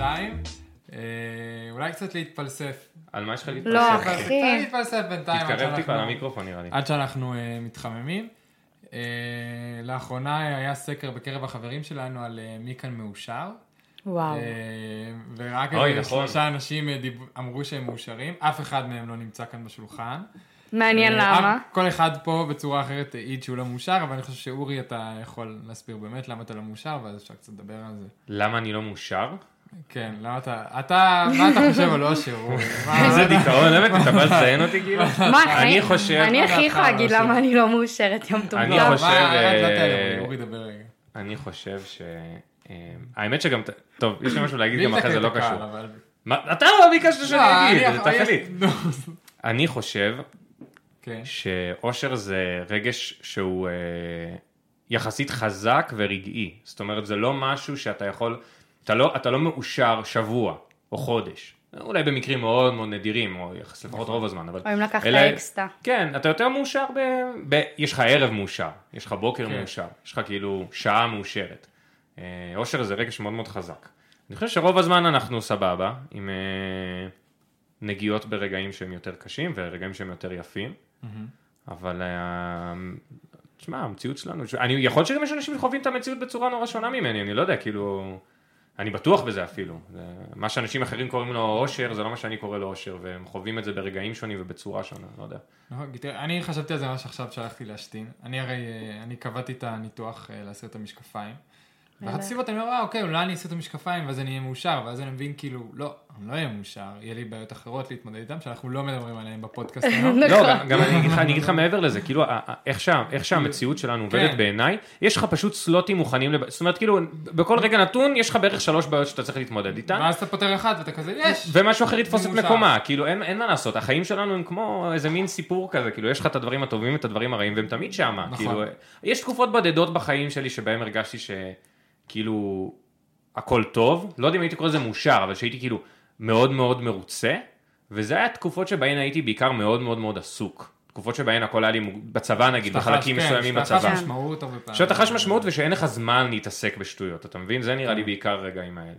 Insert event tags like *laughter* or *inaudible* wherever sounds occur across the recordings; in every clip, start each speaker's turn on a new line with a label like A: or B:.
A: אה,
B: אה.
A: אולי קצת להתפלסף.
C: על מה יש לך להתפלסף?
B: לא,
A: אבל
B: אחי.
A: קצת להתפלסף בינתיים. עד
C: תתקרב טיפה
A: שאנחנו-
B: לא.
C: למיקרופון נראה לי.
A: עד שאנחנו אה, מתחממים. אה, לאחרונה היה סקר בקרב החברים שלנו על אה, מי כאן מאושר.
B: וואו.
A: אה, ורק
C: אוי,
A: איזה
C: נכון.
A: שלושה אנשים אה, דיב- אמרו שהם מאושרים, אף אחד מהם לא נמצא כאן בשולחן.
B: מעניין
A: אה,
B: למה.
A: אף- כל אחד פה בצורה אחרת העיד שהוא לא מאושר, אבל אני חושב שאורי, אתה יכול להסביר באמת למה אתה לא מאושר, ואז אפשר קצת לדבר על זה.
C: למה אני לא מאושר?
B: *laughs*
A: כן, למה אתה, אתה, מה אתה חושב על אושר,
C: *laughs*
A: אורי? מה-
C: איזה דיכאון, באמת, אתה בא לציין אותי כאילו?
B: מה,
C: אני חושב,
B: אני הכי
A: אה,
B: יכולה להגיד
A: אה,
B: למה אני לא מאושרת יום טוב.
C: אני
B: גם.
C: חושב,
A: מה-
C: אה,
A: אל תעלה, אורי, אורי, דבר רגע.
C: אני חושב ש... אה, האמת שגם, ת- טוב, יש לי משהו להגיד
A: בלי
C: גם אחרי זה לא
A: לתקן את הקהל,
C: קשור.
A: אבל-
C: מה- אתה לא ביקשת
A: לא,
C: שאני אגיד,
A: אני-
C: אתה
A: *laughs*
C: תחליט.
A: נו,
C: אני חושב
A: כן.
B: אוקיי.
C: שאושר זה רגש שהוא אה, יחסית חזק ורגעי. זאת אומרת, זה לא משהו שאתה יכול, אתה לא, אתה לא מאושר שבוע או חודש. אולי במקרים מאוד מאוד נדירים, או יחס לפחות רוב הזמן, אבל...
B: נכון. או אם לקחת
C: אלא-
B: אקסטה.
C: כן, אתה יותר מאושר ב... ב... יש לך ערב מאושר, יש לך בוקר
A: כן.
C: מאושר, יש לך כאילו שעה מאושרת. אה, אושר זה רגש מאוד מאוד חזק. אני חושב שרוב הזמן אנחנו סבבה, עם אה, נגיעות ברגעים שהם יותר קשים ורגעים שהם יותר יפים, אבל... אה, תשמע, המציאות שלנו, אני, יכול להיות שגם יש אנשים שחווים את המציאות בצורה נורא שונה ממני, אני לא יודע, כאילו, אני בטוח בזה אפילו. זה, מה שאנשים אחרים קוראים לו אושר, זה לא מה שאני קורא לו אושר, והם חווים את זה ברגעים שונים ובצורה שונה, לא יודע.
A: נכון, כי תראה, אני חשבתי על זה ממש עכשיו שהלכתי להשתין. אני הרי, אה, אני קבעתי את הניתוח אה, להסיר את המשקפיים. ואחת הסיבות אני אומר, אה, אוקיי, אולי אני אסיר את המשקפיים ואז אני אהיה מאושר, ואז אני מבין כאילו, לא, אני לא אהיה מאושר, יהיה לי בעיות אחרות להתמודד איתן, שאנחנו לא מדברים עליהן בפודקאסט היום.
C: *laughs* לא, גם- גם אני אגיד לך- אני אגיד לך מעבר לזה, כאילו, ה- ה- איך שה- איך שהמציאות שלנו עובדת
A: כן. בעיניי,
C: בעיניי, יש לך פשוט סלוטים מוכנים, לב- זאת אומרת, כאילו, בכל רגע נתון, יש לך בערך שלוש בעיות שאתה צריך להתמודד איתן.
A: ואז אתה פותר אחת ואתה כזה, יש!
C: ומשהו אחר יתפוס את
A: מאושר.
C: מקומה, כאילו אין, אין מה לעשות, החיים שלנו הם כמו איזה מין סיפור כזה, כאילו יש לך את הדברים הטובים ואת הדברים הרעים והם תמיד שמה,
A: נכון.
C: כאילו יש תקופות בודדות בחיים שלי שבהם הרגשתי שכאילו הכל טוב, לא יודע אם הייתי קורא לזה מאושר, אבל שהייתי כאילו מאוד מאוד מרוצה, וזה היה תקופות שבהן הייתי בעיקר מאוד מאוד מאוד עסוק, תקופות שבהן הכל היה לי מוג- בצבא נגיד,
A: שאתה חש,
C: בחלקים
A: כן,
C: מסוימים
A: שאתה חש
C: בצבא.
A: משמעות הרבה פעמים.
C: שאתה חש משמעות ושאין לך זמן להתעסק בשטויות, אתה מבין? זה נראה לי
A: כן.
C: בעיקר הרגעים האלה.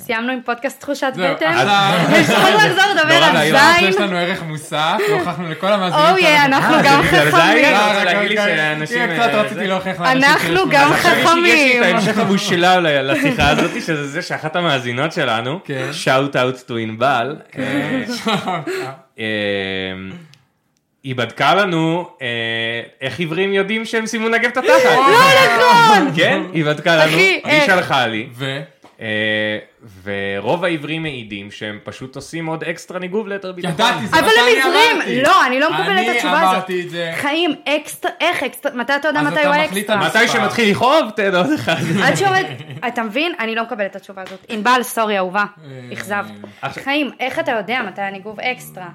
B: סיימנו עם פודקאסט תחושת
A: זהו,
B: בטן.
A: עכשיו-
B: ושצריך לחזור לדבר
C: נורא
B: על
C: ואיום.
A: עכשיו יש
B: זין.
A: לנו ערך מוסף, והוכחנו לכל המאזינים
B: אוי, אנחנו
C: אה,
B: גם
C: זה בגלל זה
B: חכמים.
C: היה?
A: אה,
C: רוצה
A: רק-
C: להגיד לי
A: רק-
C: שאנשים,
A: הנה, קצת
C: אה,
A: רציתי
C: זה-
A: להוכיח לאנשים
B: אנחנו
A: שיש
B: גם
A: מזל.
B: חכמים.
C: עכשיו יש לי- יש לי את
B: חכמים.
C: ההמשך המושלם ל- לשיחה הזאת, שזה זה שאחת המאזינות שלנו,
A: כן.
C: שאוט אאוט טו ענבל,
A: עכשיו-
C: אה, היא בדקה לנו אה, איך עיוורים יודעים שהם סיימו לנגב את התחת. לא נכון! כן, היא בדקה לנו,
B: אחי,
C: והיא
B: איך?
C: שלחה לי,
A: ו...
C: אה, ורוב העיוורים מעידים שהם פשוט עושים עוד אקסטרה ניגוב ליתר ביטחון.
A: ידעתי, זה
B: אבל
A: מה שאני
B: הם עיוורים.
A: אמרתי.
B: לא, אני לא מקבלת את התשובה הזאת.
A: אני אמרתי את זה.
B: חיים, אקסטרה, איך אקסטרה, מתי אתה יודע
A: אז
B: מתי
A: אתה
B: הוא
A: מחליט על
B: האקסטרה?
C: מתי שמתחיל לכאוב, תן עוד אחד.
B: עד שעומד, אתה מבין? אני לא מקבלת את התשובה הזאת. ענבל, סורי, אהובה, אכזבת.
C: עכשיו-
B: חיים, איך אתה יודע מתי הניגוב אקסטרה?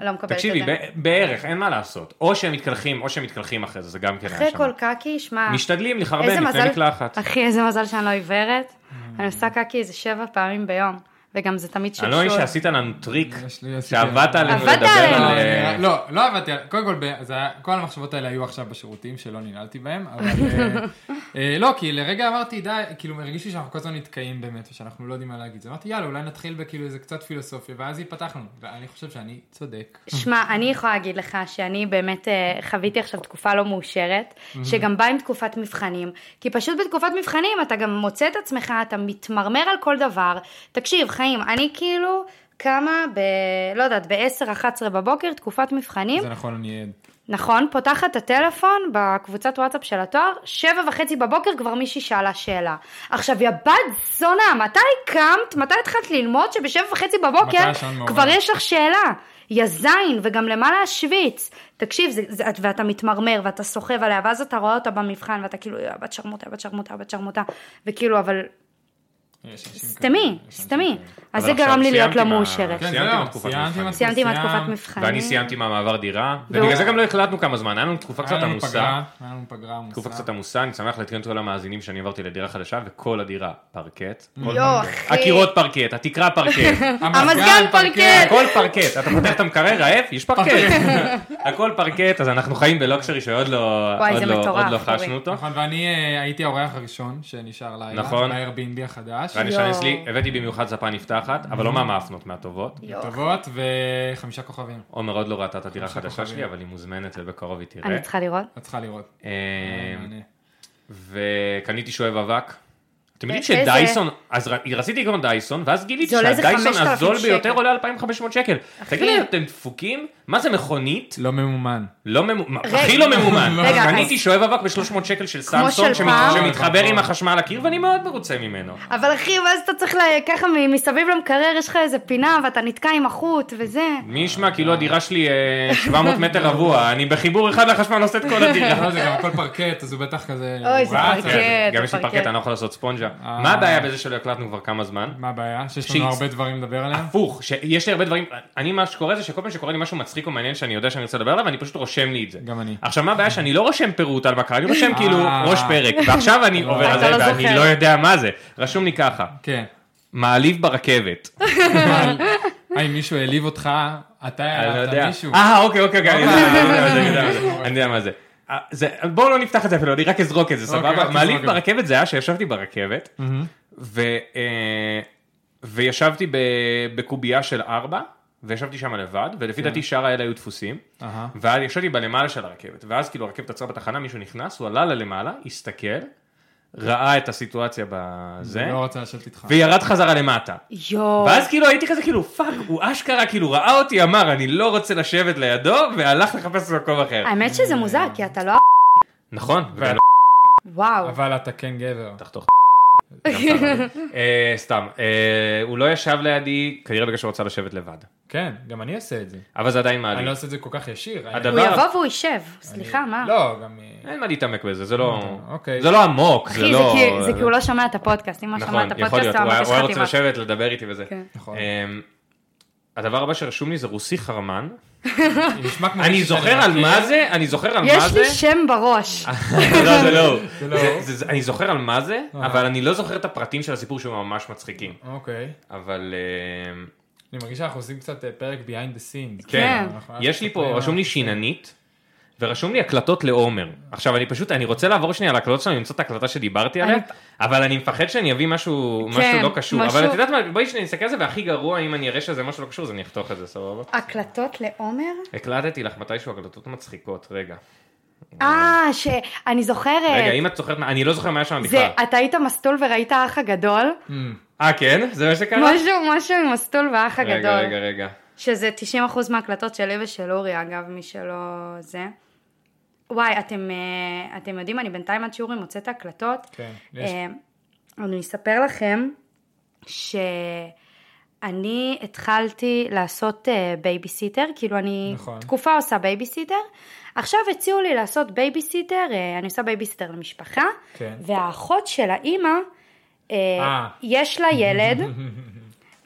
B: לא מקבלת את זה.
C: תקשיבי, ב- בערך, אין מה לעשות. או שהם מתקלחים, או שהם מתקלחים אחרי זה, זה גם כן היה
B: אחרי
C: שם.
B: כל קקי, שמע,
C: משתדלים
B: אה, איזה
C: לחרבן לפני
B: מזל,
C: מקלחת.
B: אחי, איזה מזל שאני לא עיוורת.
C: Mm.
B: אני עושה קקי איזה שבע פעמים ביום, וגם זה תמיד
C: אני לא מבין
B: שפשוט.
C: שעשית לנו טריק,
A: יש לי- יש לי-
C: שעבדת עלינו
B: עבדת
C: לדבר
B: עלינו.
C: על...
A: לא,
C: אה,
A: אני- לא, לא עבדתי, על- קודם כל, ב- זה היה- כל המחשבות האלה היו עכשיו בשירותים שלא ננעלתי בהם, אבל אה,
B: *laughs*
A: אה, לא, כי לרגע אמרתי, די, כאילו הרגיש לי שאנחנו כל הזמן נתקעים באמת, ושאנחנו לא יודעים מה להגיד. אז אמרתי, יאללה, אולי נתחיל בכאילו איזה קצת פילוסופיה, ואז התפתחנו, ואני חושב שאני צודק.
B: שמע, אני יכולה להגיד לך שאני באמת אה, חוויתי עכשיו תקופה לא מאושרת,
C: Mm-hmm.
B: שגם באה עם תקופת מבחנים, כי פשוט בתקופת מבחנים אתה גם מוצא את עצמך, אתה מתמרמר על כל דבר. תקשיב, חיים, אני כאילו קמה ב... לא יודעת, ב-10-11 בבוקר, תקופת מבחנים,
A: זה נכון, אני עד.
B: נכון, פותחת את הטלפון בקבוצת וואטסאפ של התואר, שבע וחצי בבוקר כבר מישהי שאלה שאלה. עכשיו, יא בת זונה, מתי קמת, מתי התחלת ללמוד שבשבע וחצי
A: מתי
B: בבוקר
A: השעון מעורר?
B: כבר יש לך שאלה? יא זין, וגם למה להשוויץ? תקשיב, זה, זה, את- ואתה מתמרמר, ואתה סוחב עליה, ואז אתה רואה אותה במבחן, ואתה כאילו, יא בת שרמוטה, יא בת שרמוטה, יא בת שרמוטה, וכאילו, אבל
A: אה, יש אנשים כאלה,
B: סתמי,
A: יש אנשים
B: סתמי.
A: כאלה.
B: אז
C: אוקיי, אבל
B: זה
C: עכשיו
B: גרם לי להיות
C: סיימתי
B: לא
C: מה-
B: מאושרת.
A: כן,
C: סיימתי עם
A: זהו,
C: התקופת
A: סיימתי עם
C: מבחנים.
B: סיימתי עם התקופת
A: סיימת.
B: מבחנים.
C: ואני סיימתי מהמעבר דירה,
B: והוא-
C: ובגלל זה גם לא החלטנו כמה זמן, היה לנו תקופה קצת
A: היה לנו
C: עמוסה.
A: פגרה, היה לנו פגרה עמוסה.
C: תקופה קצת עמוסה, אני שמח להתקן את כל המאזינים שאני עברתי לדירה חדשה, וכל הדירה פרקט. כל
B: יואו,
C: פרקט.
B: אחי.
C: הקירות פרקט, התקרה
B: *laughs*
C: פרקט.
B: המזגן פרקט.
C: הכל פרקט, אתה פותח את המקרר רעב, יש פרקט.
B: *laughs*
C: הכל פרקט, אז אנחנו חיים בלוקשרי שעוד לא
B: וואי,
C: עוד
B: זה
C: לא-
B: מטורף,
C: עוד לא
B: אורי.
C: חשנו אותו.
A: נכון, ואני אה, הייתי האורח הראשון שנשאר לילה,
C: נכון.
A: ב-Airbnb החדש. חדש.
C: רני
B: יואו.
C: שניסלי, הבאתי במיוחד ספה נפתחת, אבל לא מהמאפנות, מהטובות.
B: יואו.
A: טובות וחמישה כוכבים.
C: עומר עוד לא ראתה את הדירה
A: חמישה
C: החדשה
A: כוכבים.
C: שלי, אבל היא מוזמנת ובקרוב היא תראה.
B: אני צריכה לראות.
A: את צריכה לראות.
C: אה,
A: מעניין.
C: וקניתי שואב אבק. אתם יודעים
B: איזה?
C: שדייסון, אז ר- רציתי לקנות דייסון, ואז גיליתי
B: זה עולה איזה
C: שהדייסון
B: 5,000
C: הזול
B: שקל.
C: ביותר עולה 2,500 שקל. תגידו לי, אתם דפוקים? מה זה מכונית?
A: לא ממומן.
C: לא ממומן,
B: רגע.
C: הכי לא ממומן.
A: רגע,
B: אז-
C: קניתי שואב אבק ב-300 שקל של
B: של
C: סמסונג, שמת-
B: פעם?
C: שמתחבר עם החשמל לקיר, ואני מאוד מרוצה ממנו.
B: אבל אחי, ואז אתה צריך ל- ככה מ- מסביב למקרר, יש לך איזה פינה ואתה נתקע עם החוט וזה.
C: מי ישמע, כאילו הדירה שלי אה, 700 מטר רבוע, אני בחיבור אחד לחשמל עושה את כל הדירה.
A: *laughs* לא, זה גם הכל פרקט, אז הוא בטח כזה...
B: אוי, זה
A: רץ,
B: פרקט. כן,
C: גם יש לי
B: פרקט.
C: פרקט, אני לא יכול לעשות ספונג'ה.
A: אה.
C: מה הבעיה בזה שלא הקלטנו כבר כמה זמן?
A: מה הבעיה? שיש לנו
C: שיש-
A: הרבה דברים לדבר
C: *laughs*
A: עליהם?
C: הפוך, שיש לי הרבה דברים, אני מה שקורה זה שכל פעם שקורה לי משהו מצחיק או מעניין שאני יודע שאני רוצה לדבר עליו, אני פשוט רושם לי את זה.
A: גם אני.
C: עכשיו מה הבעיה שאני לא רושם פירוט על מה קרה, אני רושם
A: אה.
C: כאילו ראש פרק, ועכשיו אני עובר על
B: אתה
C: זה
B: לא זוכר.
C: ואני לא יודע מה זה. רשום לי ככה,
A: כן.
C: מעליב ברכבת. *laughs*
A: אה, אם מישהו העליב אותך, אתה
C: אני לא
A: העלבת
C: יודע.
A: מישהו.
C: אה, אוקיי, אוקיי, אוקיי, אני יודע,
A: אוקיי.
C: אני יודע מה זה, אני יודע מה זה.
A: לא.
C: אני יודע מה זה. אה, זה. בואו לא נפתח את זה אפילו, אני רק אזרוק את זה,
A: אוקיי, רק
C: סבבה?
A: תזרוק את
C: מעליב
A: זה.
C: ברכבת זה היה שישבתי ברכבת, ו- אה, וישבתי ב- בקובייה של ארבע, וישבתי שם לבד, ולפי דעתי שאר האלה היו דפוסים.
A: כן. אהה.
C: ואז ישבתי בלמעלה של הרכבת, ואז כאילו הרכבת עצרה בתחנה, מישהו נכנס, הוא עלה ללמעלה, הסתכל, ראה את הסיטואציה בזה,
A: לא רוצה לשבת איתך.
C: וירד חזרה למטה.
B: יואו.
C: ואז כאילו הייתי כזה כאילו פאק, הוא אשכרה כאילו ראה אותי, אמר אני לא רוצה לשבת לידו, והלך לחפש מקום אחר.
B: האמת שזה מוזר, כי אתה לא...
C: נכון, וגם לא
B: וואו. *laughs*
A: אבל אתה כן גבר.
C: תחתוך. גם סתם. אה, סתם, אה, הוא לא ישב לידי, כנראה בגלל שהוא רצה לשבת לבד.
A: כן, גם אני אעשה את זה.
C: אבל זה עדיין
A: אני לא
C: מעליב.
A: עושה את זה כל כך ישיר.
C: הדבר-
B: הוא
C: אבל-
B: יבוא והוא יישב.
A: אני-
B: סליחה, מה?
A: לא, גם... אה,
C: אין מה להתעמק בזה, זה לא...
A: אוקיי.
C: זה לא עמוק, זה
B: אחי, זה
C: לא...
B: כי- זה כי הוא לא שומע את הפודקאסט. אם הוא
C: נכון,
B: שמע את
C: יכול
B: הפודקאסט,
C: להיות,
B: הוא
C: הוא היה
B: ממש
C: הוא היה רוצה
B: חתימה.
C: לשבת, לדבר איתי וזה.
B: כן.
A: נכון.
C: אמ, הדבר הבא שרשום לי זה רוסי חרמן.
A: היא נשמע כמו...
C: לא- אני
A: מישהו
C: זוכר
A: שאני
C: על מה
A: מכיר.
C: זה, אני זוכר על מה זה.
B: יש לי שם בראש.
C: *laughs* לא, זה לא הוא.
A: זה לא אה.
C: זה-
A: הוא.
C: זה- זה- אני זוכר על מה זה,
A: אהה.
C: אבל אני לא זוכר את הפרטים של הסיפור שהוא ממש מצחיקים.
A: אוקיי.
C: אבל אה,
A: אני מרגיש שאנחנו עושים קצת אה, פרק behind the scenes.
C: כן,
A: אנחנו-
C: יש לי פה,
A: אנחנו-
C: רשום לי שיננית, ורשום לי הקלטות לעומר. עכשיו אני פשוט, אני רוצה לעבור שנייה על הקלטות שלנו, למצוא את ההקלטה שדיברתי עליה,
B: אני-
C: אבל אני מפחד שאני אביא משהו
B: כן,
C: משהו לא קשור. אבל
B: משהו-
C: את יודעת מה, בואי שנייה נסתכל על זה, והכי גרוע, אם אני אראה שזה משהו לא קשור, אז אני אחתוך את זה, סבבה?
B: הקלטות לעומר?
C: הקלטתי לך מתישהו הקלטות מצחיקות, רגע.
B: אה, שאני זוכרת.
C: רגע, אם את זוכרת, מה- אני לא זוכר מה היה שם
B: כן. זה,
C: בכלל.
B: אתה היית מסטול וראית האח הגדול?
C: אה, כן? זה מה שקרה?
B: משהו, משהו עם מסטול והאח
C: רגע,
B: הגדול.
C: רגע, רגע.
B: שזה 90% מההקלטות שלי ושל אורי, אגב, מי שלא זה. וואי, אתם, אה, אתם יודעים, אני בינתיים עד שאורי מוצא את ההקלטות.
A: כן, יש.
B: אה, אני אספר לכם שאני התחלתי לעשות אה, בייביסיטר, כאילו אני
A: נכון.
B: תקופה עושה בייביסיטר. עכשיו הציעו לי לעשות בייביסיטר, אה, אני עושה בייביסיטר למשפחה,
A: כן.
B: והאחות של האימא, אה,
A: אה.
B: יש לה
A: *laughs*
B: ילד,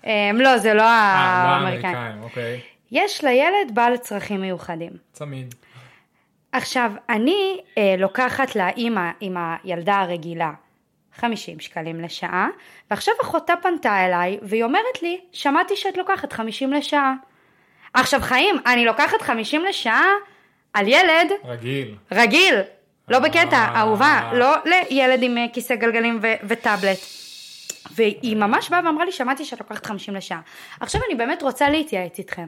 B: אה, לא, זה לא
A: אה, לא
B: האמריקאים,
A: האמריקאים, אוקיי.
B: יש לה ילד בעל צרכים מיוחדים.
A: צמיד.
B: עכשיו, אני אה, לוקחת לאימא עם הילדה הרגילה 50 שקלים לשעה, ועכשיו אחותה פנתה אליי, והיא אומרת לי, שמעתי שאת לוקחת 50 לשעה. עכשיו חיים, אני לוקחת 50 לשעה על ילד
A: רגיל.
B: רגיל, לא בקטע,
A: אה.
B: אהובה, לא לילד עם אה, כיסא גלגלים ו- וטאבלט. והיא ממש באה ואמרה לי, שמעתי שאת לוקחת 50 לשעה. עכשיו אני באמת רוצה להתייעץ איתכם.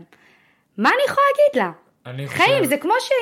B: מה אני יכולה להגיד לה?
A: אני חושב...
B: חיים, זה כמו שאם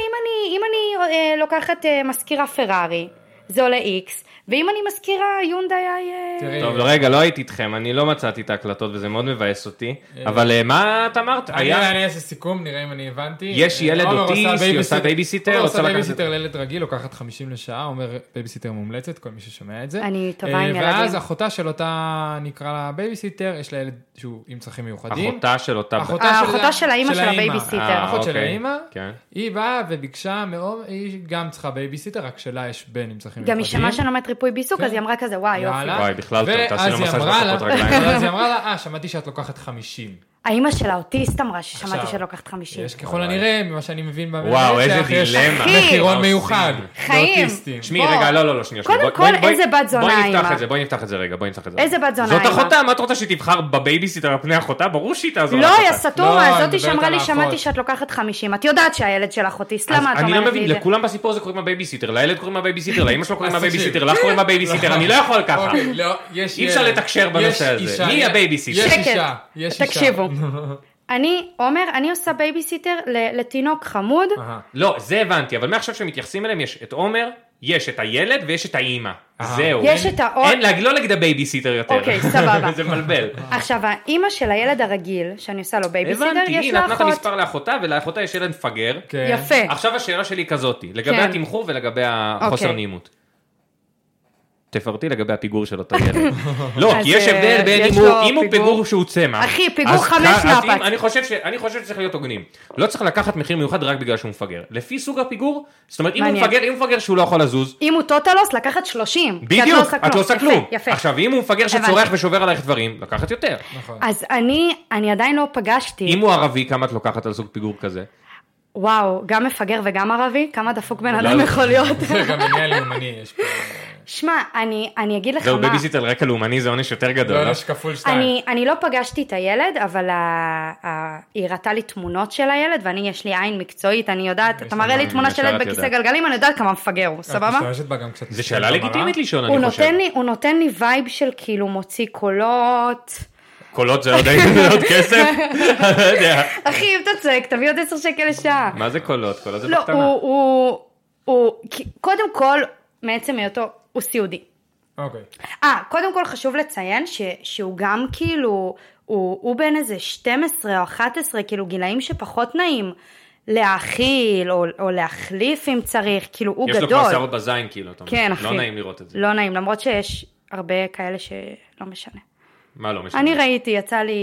B: אני, אם אני אה, לוקחת אה, מזכירה פרארי, זה עולה איקס, ואם אני מזכירה יונדאי... אה,
A: תראי,
C: טוב, לא, רגע, לא הייתי איתכם, אני לא מצאתי את ההקלטות וזה מאוד מבאס אותי, אבל אה, מה את אמרת?
A: אני
C: היה...
A: אני אעשה סיכום, נראה אם אני הבנתי.
C: יש
A: אה,
C: ילד
A: עומר
C: אוטיסט, היא
A: בייביסיט-
C: עושה בייביסיטר,
A: עומר
C: רוצה
A: עושה
C: לקחת-
A: בייביסיטר לילד רגיל, לוקחת 50 לשעה, אומר בייביסיטר מומלצת, כל מי ששומע את זה.
B: אני טובה
A: אה,
B: עם
A: ואז
B: ילדים.
A: אחותה של אותה, נקרא לה בייביסיטר, יש לה ילד שהוא עם צרכים מיוחדים.
C: אחותה של אותה...
A: אחותה
B: אה,
A: של
B: אחותה
A: ה-
B: של האימא של
A: האימא.
B: הבייביסיטר.
C: אה,
A: האחות של
C: אוקיי.
A: האימא,
C: כן.
A: היא באה וביקשה, מאום- היא גם צריכה בייביסיטר, רק שלה יש בן עם צרכים מיוחדים.
B: גם היא שמעה שאני לומדת ריפוי בעיסוק,
A: כן.
B: אז היא אמרה כזה, וואי, יופי.
A: יאללה.
C: וואי, בכלל טוב, תעשי
A: ואז
C: לו
A: היא
C: מסאז'
A: אמרה לה-
C: בחפות רגליים.
A: ואז היא אמרה לה, אה, שמעתי שאת לוקחת 50.
B: האימא של האוטיסט אמרה ששמעתי
A: עכשיו,
B: שאת לוקחת 50.
A: יש ככל
C: וואי.
A: הנראה, ממה שאני מבין במדינה,
C: וואו, איזה
A: שלך, יש
C: דילמה. אוקיי,
B: אחי.
A: מחירון
C: מה
A: מיוחד.
C: עושים?
B: חיים.
A: לאוטיסטים.
C: תשמעי,
B: בוא.
C: רגע, לא, לא, לא, שנייה, שנייה.
B: קודם
C: בואי-
B: כל,
C: בואי-
B: איזה בת זונה
C: בואי נפתח
B: אימא.
C: את זה, בואי נפתח את זה רגע, בואי נפתח את זה.
B: איזה בת זונה
C: זאת
B: אימא.
C: אחותה, מה את רוצה שהיא תבחר בבייביסיטר על פני אחותה? ברור שהיא תעזור
B: לא,
C: לאחותה.
B: יא
A: לא, אני
B: סתומה,
A: מדברת
B: זאתי שאמרה
A: על
B: לי,
A: האחות.
B: שמעתי שאת לוקחת 50. את יודעת שהילד שלך אוטיסט,
C: אז
B: למה את
C: אני לא
B: אומרת לי
C: מבין,
B: את זה?
C: לכולם בסיפור הזה קוראים הבייביסיטר, לילד קוראים הבייביסיטר, לאמא שלו קוראים
A: אז תקשיב.
C: הבייביסיטר, לך קוראים הבייביסיטר, אני לא יכול ככה.
A: אוקיי, לא, יש
C: אי אפשר
A: ילד.
C: לתקשר
A: יש
C: בנושא הזה.
A: אישה,
C: מי
A: יש-
C: הבייביסיטר?
A: יש
B: שקט.
A: אישה, יש אישה.
C: *laughs*
B: תקשיבו. אני, עומר, אני עושה בייביסיטר ל- לתינוק חמוד.
A: אהה.
C: לא, זה הבנתי, אבל מעכשיו שמתייחסים אליהם יש את עומר, יש את הילד ויש את האימא.
A: אה.
C: זהו.
B: יש
C: אין-
B: את האות-
C: אין להגיד, לא להגיד הבייביסיטר יותר.
B: אוקיי, סבבה.
C: *laughs* זה מבלבל.
B: עכשיו, האימא של הילד הרגיל, שאני עושה לו בייביסיטר,
C: הבנתי,
B: יש
C: היא
B: לה
C: נתנה את
B: אחות.
C: המספר לאחותה, ולאחותה יש ילד מפגר.
A: כן.
B: יפה.
C: עכשיו השאלה שלי היא כזאתי, לגבי
B: כן.
C: התמחור ולגבי החוסר
B: אוקיי.
C: נעימות. תפרטי לגבי הפיגור של אותו
B: *laughs*
C: ילד. לא,
B: אז,
C: כי יש הבדל
B: אה,
C: בין
B: יש
C: אם הוא-
B: לו
C: אם הוא
B: פיגור-
C: פיגור שהוא צמח.
B: אחי, פיגור
C: אז
B: חמש
C: כ- אז
B: נפץ.
C: אם- אני חושב ש- אני חושב שצריך להיות הוגנים. לא צריך לקחת מחיר מיוחד רק בגלל שהוא מפגר. לפי סוג הפיגור, זאת אומרת, אם הוא
B: מעניין.
C: מפגר, אם הוא מפגר שהוא לא יכול לזוז,
B: אם הוא טוטלוס, לקחת 30. כי
C: בדיוק,
B: עושה
C: את לא עושה
B: יפה,
C: כלום.
B: יפה.
C: עכשיו, אם הוא מפגר שצורח
B: הבנתי.
C: ושובר עלייך דברים, לקחת יותר.
A: נכון.
B: אז אני, אני עדיין לא פגשתי.
C: אם הוא ערבי, כמה את לוקחת על סוג פיגור כזה?
B: וואו, גם מפגר וגם ערבי? כמה דפוק בן אדם
C: לא.
B: יכול להיות? *laughs*
A: זה גם עניין לאומני יש פה.
B: שמע, אני, אני אגיד לך
C: זהו,
B: מה,
C: בייביסיט על רקע לאומני זה עונש יותר גדול.
A: לא,
C: לא?
A: יש כפול שתיים.
B: אני, אני לא פגשתי את הילד, אבל ה, ה, היא הראתה לי תמונות של הילד, ואני, יש לי עין מקצועית, אני יודעת, אתה מראה לי
C: לך-
B: תמונה של
C: ישר
B: ילד
C: את
B: בכיסא
C: יודעת.
B: גלגלים, אני יודעת כמה מפגר הוא,
A: את
B: סבבה?
A: משתמשת בה גם כשאת...
C: זו שאלה
A: במראה?
C: לגיטימית לשאול,
B: הוא
C: אני חושב.
B: נותן, לי, הוא נותן לי וייב של כאילו מוציא קולות.
C: קולות זה עוד *laughs* עוד כסף? אני לא יודע.
B: אחי, אם אתה צועק, תביא עוד 10 שקל לשעה.
C: מה זה קולות? קולות זה
B: לא,
C: בקטנה.
B: הוא, הוא, הוא, כי- קודם כל, מעצם היותו, הוא סיעודי.
A: אוקיי.
B: אה, קודם כל חשוב לציין ש, שהוא גם כאילו, הוא, הוא בין איזה 12 או 11, כאילו גילאים שפחות נעים להאכיל או, או להחליף אם צריך, כאילו הוא
C: יש לו
B: גדול.
C: כבר שערות בזין, כאילו, אתה אומר.
B: כן, אחי.
C: לא נעים לראות את זה.
B: לא נעים, למרות שיש הרבה כאלה שלא משנה.
C: מה לא משנה?
B: אני ראיתי, יצא לי...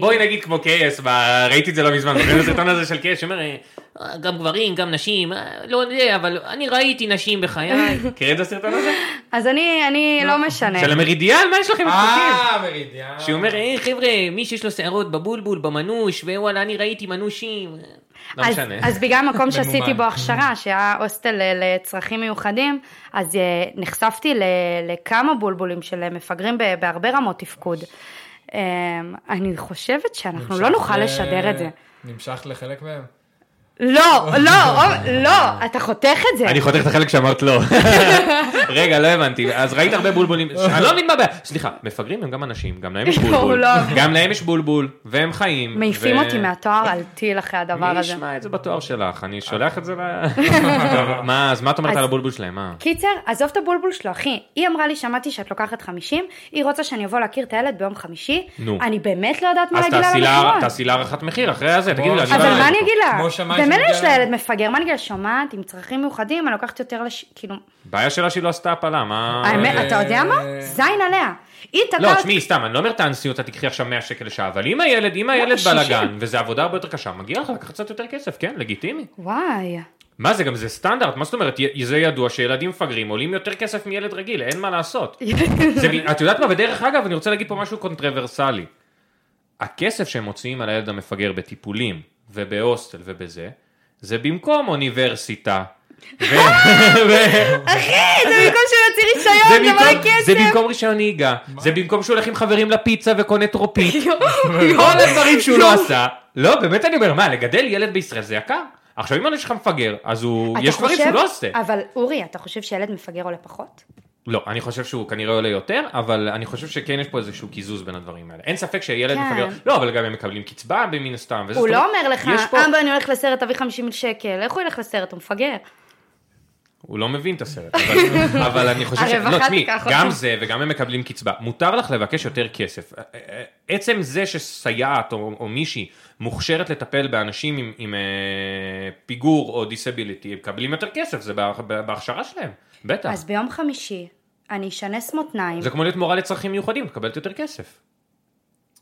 C: בואי נגיד כמו קייס, ב- ראיתי את זה לא מזמן, זוכרים את הסרטון הזה של קייס שאומר, אה, גם גברים, גם נשים, אה, לא יודע, אבל אני ראיתי נשים
B: *laughs*
C: בחיי. מכירים את הסרטון הזה?
B: אז אני, אני לא משנה.
C: של המרידיאן, מה יש לכם לחוקים?
A: אה, מרידיאן.
C: שהוא אומר, היי חבר'ה, מי שיש לו שערות בבולבול, במנוש, ווואלה, אני ראיתי מנושים. לא
B: אז,
C: משנה.
B: אז בגלל
C: *laughs*
B: המקום שעשיתי
A: ממומן.
B: בו הכשרה, שהיה הוסטל אה, לצרכים מיוחדים, אז אה, נחשפתי ל, לכמה בולבולים של אה, מפגרים ב- בהרבה רמות תפקוד. אה, אני חושבת שאנחנו לא
A: נמשך
B: נוכל
A: ל-
B: לשדר את זה.
A: נמשך לחלק מהם?
B: לא,
C: *laughs*
B: לא, אור- לא, אתה חותך את זה.
C: אני חותך את החלק שאמרת
B: *laughs*
C: לא. רגע, לא הבנתי. אז ראית הרבה בולבולים. אני לא מבין מה הבעיה. סליחה, מפגרים הם גם אנשים, גם
B: *laughs*
C: להם יש
B: לא,
C: בולבול.
B: לא.
C: גם להם יש בולבול, והם חיים.
B: מעיפים
C: ו-
B: אותי מהתואר על טיל אחרי הדבר
C: מי
B: הזה. אוקיי.
C: ישמע את זה בתואר שלך? אני שולח את זה ל...
B: *laughs*
C: *laughs* טוב, מה, אז מה את אומרת
B: אז-
C: על הבולבול שלהם? מה?
B: קיצר, עזוב את הבולבול שלו, אחי. היא אמרה לי, שמעתי שאת לוקחת 50, היא רוצה שאני אבוא להכיר את הילד ביום חמישי.
C: נו.
B: אני באמת לא יודעת מה
C: אז
B: להגיד לה על
C: תעשי לה-
B: המחירון.
C: תעשי לה הערכת מחיר אחרי הזה, תגידי לה, אני לא
A: אבל
C: בא-
A: שמאי.
B: אבל מה אני אגיד לה?
A: כמו שמאי
B: במילא
A: שמגיע
B: יש לה
A: לה.
B: ילד מפגר, מה אני אגיד לה? שומעת, עם צרכים מיוחדים, אני לוקחת יותר לש... כאילו...
C: בעיה שלה שהיא לא עשתה הפלה, מה...
B: האמת, אתה יודע מה?
A: אה.
B: זין עליה. היא
C: לא,
B: תקעת...
C: תשמעי, סתם, אני לא אומר תאנסי אותה, תקחי עכשיו 100 שקל לשעה, אבל אם הילד,
B: לא
C: אם הילד בא
B: שישים.
C: לגן, וזו עבודה הרבה יותר קשה, מגיע לך לקחת קצת יותר כסף, כן, לגיטימי.
B: וואי.
C: מה זה, גם זה סטנדרט, מה זאת אומרת, י- זה ידוע שילדים מפגרים עולים יותר כסף מילד רגיל, אין מה
B: *laughs*
C: לעשות. זה, ב- את יודעת מה, ודרך אגב, אני רוצה להגיד פה משהו קונטרברסלי. הכסף שהם מוציאים על הילד המפגר בטיפולים, ובהוסטל ובזה, זה במקום אוניברסיטה. ו-
B: אה,
C: ו-
B: *laughs* אחי, זה במקום שהוא יוציא
C: זה
B: רישיון, זה מלא
C: במקום- זה
B: כסף.
C: במקום רישיון נהיגה, זה במקום שהוא הולך עם חברים לפיצה וקונה טרופית.
B: *laughs* יואו,
C: כל הדברים שהוא לא
B: יואו.
C: עשה. לא, באמת אני אומר, מה, לגדל ילד בישראל זה יקר? עכשיו, אם יש לך מפגר, אז הוא... *laughs*
B: אתה
C: יש דברים
B: חושב-
C: שהוא לא עושה.
B: אבל אורי, אתה חושב שילד מפגר עולה פחות?
C: לא, אני חושב שהוא כנראה עולה יותר, אבל אני חושב שכן יש פה איזשהו קיזוז בין הדברים האלה. אין ספק שילד
B: כן.
C: מפגר... לא, אבל גם הם מקבלים קצבה מן הסתם. וזה-
B: הוא
C: זאת
B: לא
C: אומרת,
B: אומר לך,
C: יש פה-
B: אבא, אני הולך לסרט, תביא 50 שקל. איך הוא ילך לסרט? הוא מפגר.
C: הוא לא מבין את הסרט,
B: *laughs*
C: אבל, אבל אני חושב ש... לא,
B: הרווחה
C: תשמעי,
B: תיקח
C: גם
B: אותו.
C: זה וגם הם מקבלים קצבה. מותר לך לבקש יותר כסף. אה, עצם זה שסייעת או, או מישהי מוכשרת לטפל באנשים עם, עם אה, פיגור או דיסביליטי, הם מקבלים יותר כסף, זה בה, בה, בהכשרה שלהם, בטח.
B: אז ביום חמישי, אני אשנס מותניים.
C: לא. זה כמו להיות מורה לצרכים מיוחדים, מקבלת יותר כסף.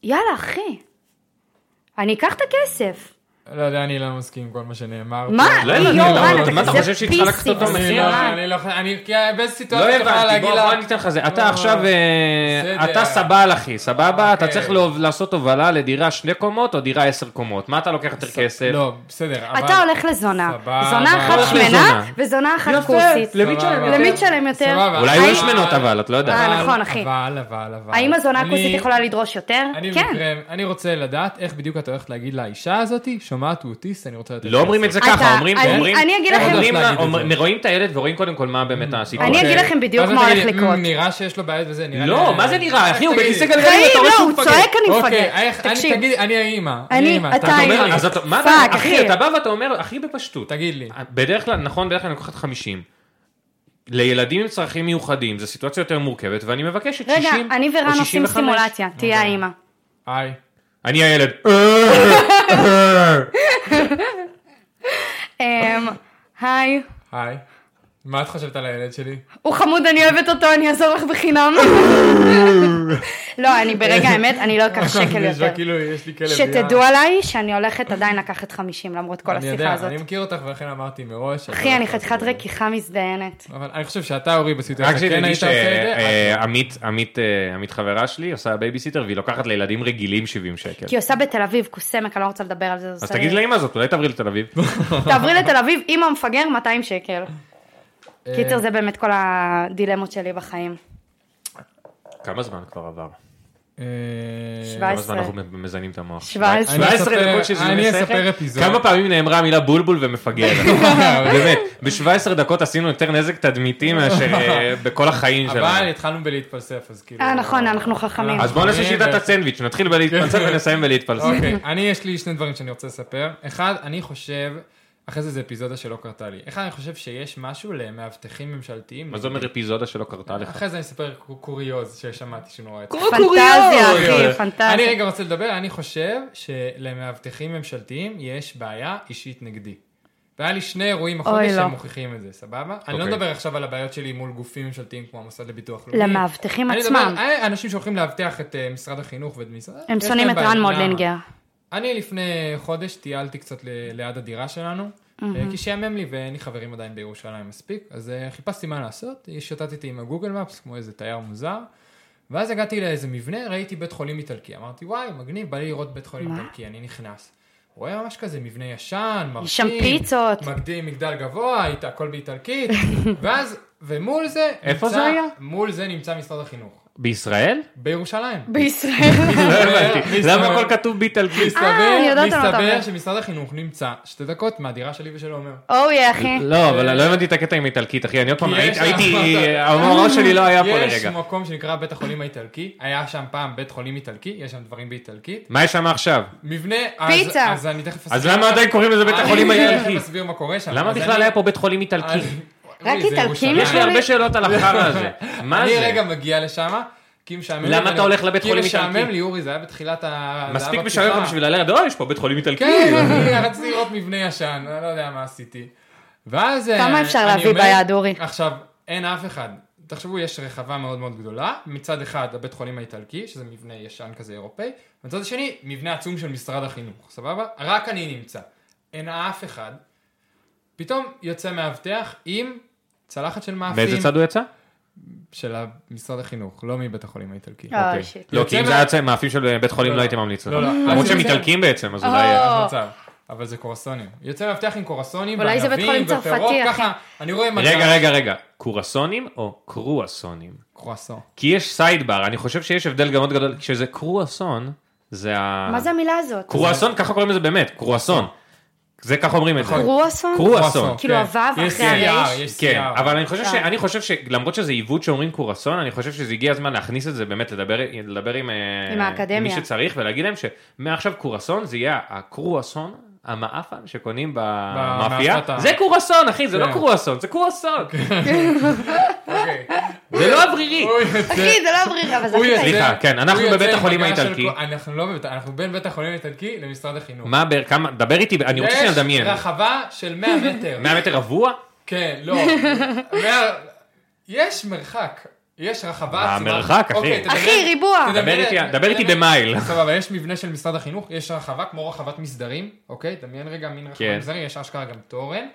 B: יאללה, אחי. אני אקח את הכסף.
A: לא יודע, אני לא מסכים עם כל מה שנאמר.
B: מה?
A: פה.
C: לא
B: יואו,
C: הבנתי,
A: לא,
B: רן,
A: אבל מה, אתה
B: כזה
C: חושב שהיא צריכה
B: פיסי,
C: לקטוף את
B: זה
A: אני
C: המחיר?
A: לא,
B: רע.
A: אני לא, אני, כי באיזה
C: לא
A: סיטואציה שאני יכולה
C: הבנתי,
A: להגיד
C: בוא,
A: לה...
C: בוא אני אתן לך זה. אתה
A: לא,
C: עכשיו, אה,
A: בסדר.
C: אתה סבלחי, סבבה? אתה
A: אוקיי.
C: צריך להוב- לעשות הובלה לדירה שני קומות או דירה עשר קומות. מה אתה לוקח יותר כסף?
A: לא, בסדר, אבל...
B: אתה הולך לזונה.
A: סבבה.
B: זונה
A: אתה
B: אחת
A: הולך
B: שמנה
C: לזונה.
B: וזונה אחת
C: יפה,
B: כוסית.
C: למי
A: סבבה.
C: תשלם
B: למי
C: יותר?
B: תשלם יותר?
A: סבבה.
C: אולי היו
A: אבל-
C: שמנות אבל, את לא יודעת.
B: אה,
A: אבל-
B: נכון, אחי.
A: אבל, אבל, אבל.
B: האם הזונה הכוסית
A: אני-
B: יכולה לדרוש יותר?
A: אני
B: כן.
A: במקרה, אני רוצה לדעת איך בדיוק את הולכת להגיד לאישה הזאתי, שומעת הוא אוטיסט, אני רוצה לתת
C: לא אומרים את זה
B: אתה-
C: ככה, אומרים,
B: אני-
C: אומרים,
B: אה, אני אגיד לכם-
C: אומרים לה-
A: להגיד את זה.
C: אומר- רואים את הילד ורואים קודם כל מה באמת
B: אני
A: אוקיי.
C: הסיטואציה.
B: אגיד לכם בדיוק מה הולך לקרות.
A: נראה שיש לו בעיות וזה, נראה...
C: לא,
A: לי-
C: מה זה נראה? אחי, הוא
A: תגידי.
C: בכיסא גלגלים,
B: חיים,
C: אתה רואה
B: לא,
C: שהוא
B: הוא
C: מפגר.
B: צועק אני
A: אוקיי, איך-
B: מפגר.
A: אני-
B: תקשיב,
A: תגידי, אני האימא.
B: אני-
A: האימא,
B: אתה
C: אתה אומר,
B: אימא.
C: אז אתה- מה
B: פאק,
C: אתה,
B: אחי.
C: אחי, אתה בא ואתה אומר, הכי בפשטות.
A: תגיד לי.
C: בדרך כלל, נכון, בדרך כלל אני לוקחת 50. לילדים עם צרכים מיוחדים, זו סיטואציה יותר מורכבת, ואני מבקשת 60 או
B: רגע,
C: 65.
B: אני ורן עושים סימולציה,
A: אוקיי.
B: תהיה האימא.
A: היי.
C: אני הילד.
A: אה,
B: אמ, היי,
A: היי. מה את חושבת על הילד שלי?
B: הוא חמוד, אני אוהבת אותו, אני אעזור לך בחינם. לא, אני ברגע האמת, אני לא *laughs* אקח שקל
A: אני נשמע
B: יותר.
A: כאילו יש לי כלב.
B: שתדעו
A: יאללה.
B: עליי שאני הולכת עדיין לקחת 50 למרות כל
A: אני
B: השיחה
A: יודע,
B: הזאת.
A: אני מכיר אותך ולכן אמרתי מראש. אבל-
B: אחי, אני חתיכת רקיחה מזדיינת.
A: אבל אני חושב שאתה, אורי,
C: רק
A: בסיטואציה כן
C: שתדעי
A: היית
C: אה,
A: עושה את זה.
C: שעמית, עמית, אה, עמית חברה שלי, עושה בייביסיטר, והיא לוקחת לילדים רגילים 70
A: כן.
C: שקל.
B: כי היא עושה בתל אביב קוסמק, אני לא רוצה לדבר על זה. זה
C: אז
B: עושה
C: תגיד
B: לי-
C: לאמא הזאת, אולי תעברי
A: *laughs*
C: לתל אביב.
B: *laughs* תעברי לתל אביב, אמא מפגר 200 שקל.
A: אה,
B: קיצר, זה באמת כל הדילמות שלי בחיים.
C: כמה זמן כבר עבר?
A: אה,
C: כמה זמן
B: 17.
C: אנחנו מזיינים את המוח?
B: 17.
A: אני
C: 17
A: אספר-
C: דקות של זיהוי
A: אני
C: שכל?
A: אספר אפיזוד.
C: כמה פעמים נאמרה המילה בולבול
A: *laughs*
C: ומפגר? באמת, ב-17 דקות עשינו יותר נזק תדמיתי מאשר אה, בכל החיים
A: אבל
C: שלנו.
A: התחלנו בלהתפלסף, אז כאילו...
B: אה, נכון, אנחנו חכמים.
C: אז בואו נעשה
A: אני
C: שיטת
A: ו-
C: הסנדוויץ', נתחיל בלהתפלסף ונסיים בלהתפלסף.
A: אוקיי, אני יש לי שני דברים שאני רוצה לספר. אחד, אני חושב, אחרי זה זה אפיזודה שלא קרתה לי. אחד, אני חושב שיש משהו למאבטחים ממשלתיים.
C: מה זה אומר אפיזודה שלא קרתה לך?
A: אחרי זה אני אספר קו- קוריוז ששמעתי שהוא נורא יצא.
B: פנטזיה,
C: קוריוז.
B: אחי,
A: אני
B: פנטזיה.
A: רגע רוצה לדבר, אני חושב שלמאבטחים ממשלתיים יש בעיה אישית נגדי. והיה לי שני אירועים החודש
B: אוי, לא.
A: שהם מוכיחים את זה, סבבה? אני לא
C: אוקיי.
A: מדבר עכשיו על הבעיות שלי מול גופים ממשלתיים כמו המוסד לביטוח לאומי.
B: למאבטחים
A: אני
B: עצמם.
A: מדבר על אה, אנשים שהולכים לאבטח את אה, משרד החינוך ואת משרד...
B: הם
A: יש
B: שונאים
A: להם
B: את
A: בעיה.
B: רן
A: למה?
B: מודלינגר.
A: אני לפני חודש טיילתי קצת ל- ליד הדירה שלנו, אה, כי שעמם לי ואין לי חברים עדיין בירושלים מספיק, אז אה, חיפשתי מה לעשות, שתתתי עם הגוגל מפס כמו איזה תייר מוזר, ואז הגעתי לאיזה מבנה, ראיתי בית חולים איטלקי, אמרתי וואי מגניב, בא לי לראות בית חולים איטלקי, אני נכנס. רואה ממש כזה מבנה ישן, מרשים.
B: יש שם פיצות.
A: מקדים מגדל גבוה, היית הכל
B: *laughs*
A: באיטלקית, ואז, ומול זה...
C: איפה
A: נמצא-
C: זה היה?
A: מול זה נמצא משרד החינוך.
C: בישראל?
A: בירושלים.
B: בישראל.
C: לא הבנתי.
A: *laughs* בישראל.
C: למה הכל כתוב באיטלקי?
B: אה, אני
A: מסתבר,
B: יודעת על מה אתה
A: מסתבר
B: אומר.
A: שמשרד החינוך נמצא שתי דקות מהדירה שלי ושל עומר.
B: אוי, Oh, אחי.
C: לא, אבל לא הבנתי את הקטע עם איטלקית, אחי. אני עוד פעם,
A: אה. כי יש-
C: הייתי, הייתי- המורה שלי לא היה פה
A: יש
C: לרגע.
A: מקום שנקרא בית החולים האיטלקי, היה שם פעם בית חולים איטלקי, יש שם דברים באיטלקית.
C: מה יש שם עכשיו?
A: מבנה, אז-
B: פיצה.
A: אז אני תכף
C: אז למה עדיין קוראים לזה בית
A: אני
C: החולים
A: תכף
C: האיטלקי?
A: אסביר מה קורה שם.
C: למה
A: אז
C: בכלל
A: אני- אה,
C: היה פה בית חולים
A: אז-
C: איטלקי?
A: אוי,
B: רק
A: זה
B: איטלקים
A: ירושלים.
C: יש לי הרבה שאלות על החרא הזה. מה
A: אה, אני
C: זה?
A: רגע מגיע לשם, כי משעמם לי.
C: למה
A: ואני-
C: אתה הולך לבית חולים
A: כי משעמם
C: איטלקי?
A: לי, אורי, זה היה בתחילת ה... זה
C: מספיק
A: היה
C: משעמם לך
A: בפתיחה.
C: בשביל ללכת, אוי, יש פה בית חולים איטלקי.
A: כן, אני רציתי לראות מבנה ישן, אני לא יודע מה עשיתי. ואז... אה,
B: כמה אפשר
A: אני
B: להביא
A: אומר-
B: ביד, אורי?
A: עכשיו, אין אף אחד. תחשבו, יש רחבה מאוד מאוד גדולה. מצד אחד, הבית חולים האיטלקי, שזה מבנה ישן כזה אירופאי. מצד השני, מבנה עצום של משרד החינוך, סבבה? רק אני נמצא. אין אף אחד. פתאום יוצא מאבטח עם צלחת של מאפים.
C: מאיזה צד הוא יצא?
A: של משרד החינוך, לא מבית החולים האיטלקי.
B: אה,
C: אוקיי.
B: שיט.
C: לא, כי אם
A: יוצא
C: זה
A: מה-
C: היה צא- מאפים של בית חולים
A: לא,
C: לא
A: לא.
C: הייתי ממליץ לך.
A: לא, לא.
C: למרות
A: אז
C: שהם
A: יוצא-
C: איטלקים בעצם, אז
B: אה.
C: אולי...
A: אז מצב. אבל זה קורסונים. יוצא מאבטח עם קורסונים,
B: אולי זה בית
A: וענבים,
B: חולים
A: ופירות,
B: צרפתי, אחי.
A: ככה, אני רואה מגע.
C: רגע, רגע, רגע. קורסונים או קרואסונים?
A: קרואסון.
C: כי יש סיידבר, אני חושב שיש הבדל גם מאוד גדול, כשזה קרואסון, זה
A: אה.
C: ה...
B: מה זה המילה הזאת?
C: קרואסון, ככה קוראים לזה באמת, קרואסון. זה ככה אומרים את זה.
B: קרואסון?
C: קרואסון.
B: כאילו
A: כן.
B: הוו
A: יש
B: אחרי
A: CR,
B: הרייש.
A: יש
C: כן,
A: CR.
C: אבל אני חושב ש...
B: אה.
C: אני חושב שלמרות שזה עיוות שאומרים קורסון, אני חושב שזה הגיע הזמן להכניס את זה באמת, לדבר, לדבר עם, אה,
B: עם האקדמיה.
C: מי שצריך, ולהגיד להם שמעכשיו קורסון זה יהיה הקרואסון. המאפן שקונים במאפייה,
A: במאפת ה-
C: זה קורסון אחי, זה
A: כן.
C: לא קורסון, זה קורסון,
A: אוקיי.
C: זה לא אוורירי.
A: הוא יוצא-
B: אחי, זה לא הברירה, אבל זה
A: הוא
B: הכי
A: יוצא-
B: טעים.
C: סליחה, כן, אנחנו
A: הוא יוצא
C: בבית
A: עם
C: החולים
A: מגע של
C: האיטלקי.
A: כל- אנחנו לא בבית, אנחנו בין בית החולים האיטלקי למשרד החינוך.
C: מה, בר- כמה, דבר איתי, אני רוצה שנדמיין,
A: יש רחבה של
B: *laughs*
A: 100 מטר.
C: 100 מטר רבוע?
A: כן, לא. 100 יש מרחק. יש רחבה עצומה.
C: במרחק, אחי.
A: אוקיי, תדמיין-
B: אחי, ריבוע.
A: תדמיין-
C: דבר איתי- דבר איתי
A: תדמיין-
C: במייל.
A: סבבה, יש מבנה של משרד החינוך, יש רחבה כמו רחבת מסדרים, אוקיי? דמיין רגע מין רחבת
C: כן.
A: מסדרים, יש אשכרה גם תורן,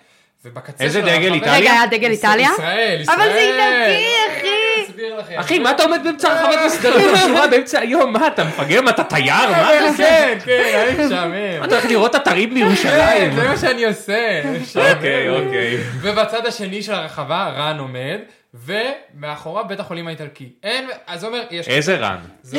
A: ובקצה
C: איזה
A: של
C: דגל
A: הרחבה-
C: איטליה?
B: רגע, היה דגל איטליה?
A: ישראל, ישראל.
B: אבל זה איטלקי,
A: אני
B: אחי.
A: אסביר לכם.
C: אחי, מה אתה עומד באמצע הרחבת מסדרים בשורה באמצע היום? מה, אתה מפגר? מה, אתה תייר? מה אתה עושה?
A: כן, כן, היה לי משעמם.
C: אתה הולך לראות אתרים
A: כן,
C: בירושלים?
A: זה מה שאני עושה.
C: אוקיי, אוקיי.
A: ובצד השני של הרחבה, רן עומד, ומאחוריו בית החולים האיטלקי. אין, אז אומר, יש...
C: איזה רן?
A: זה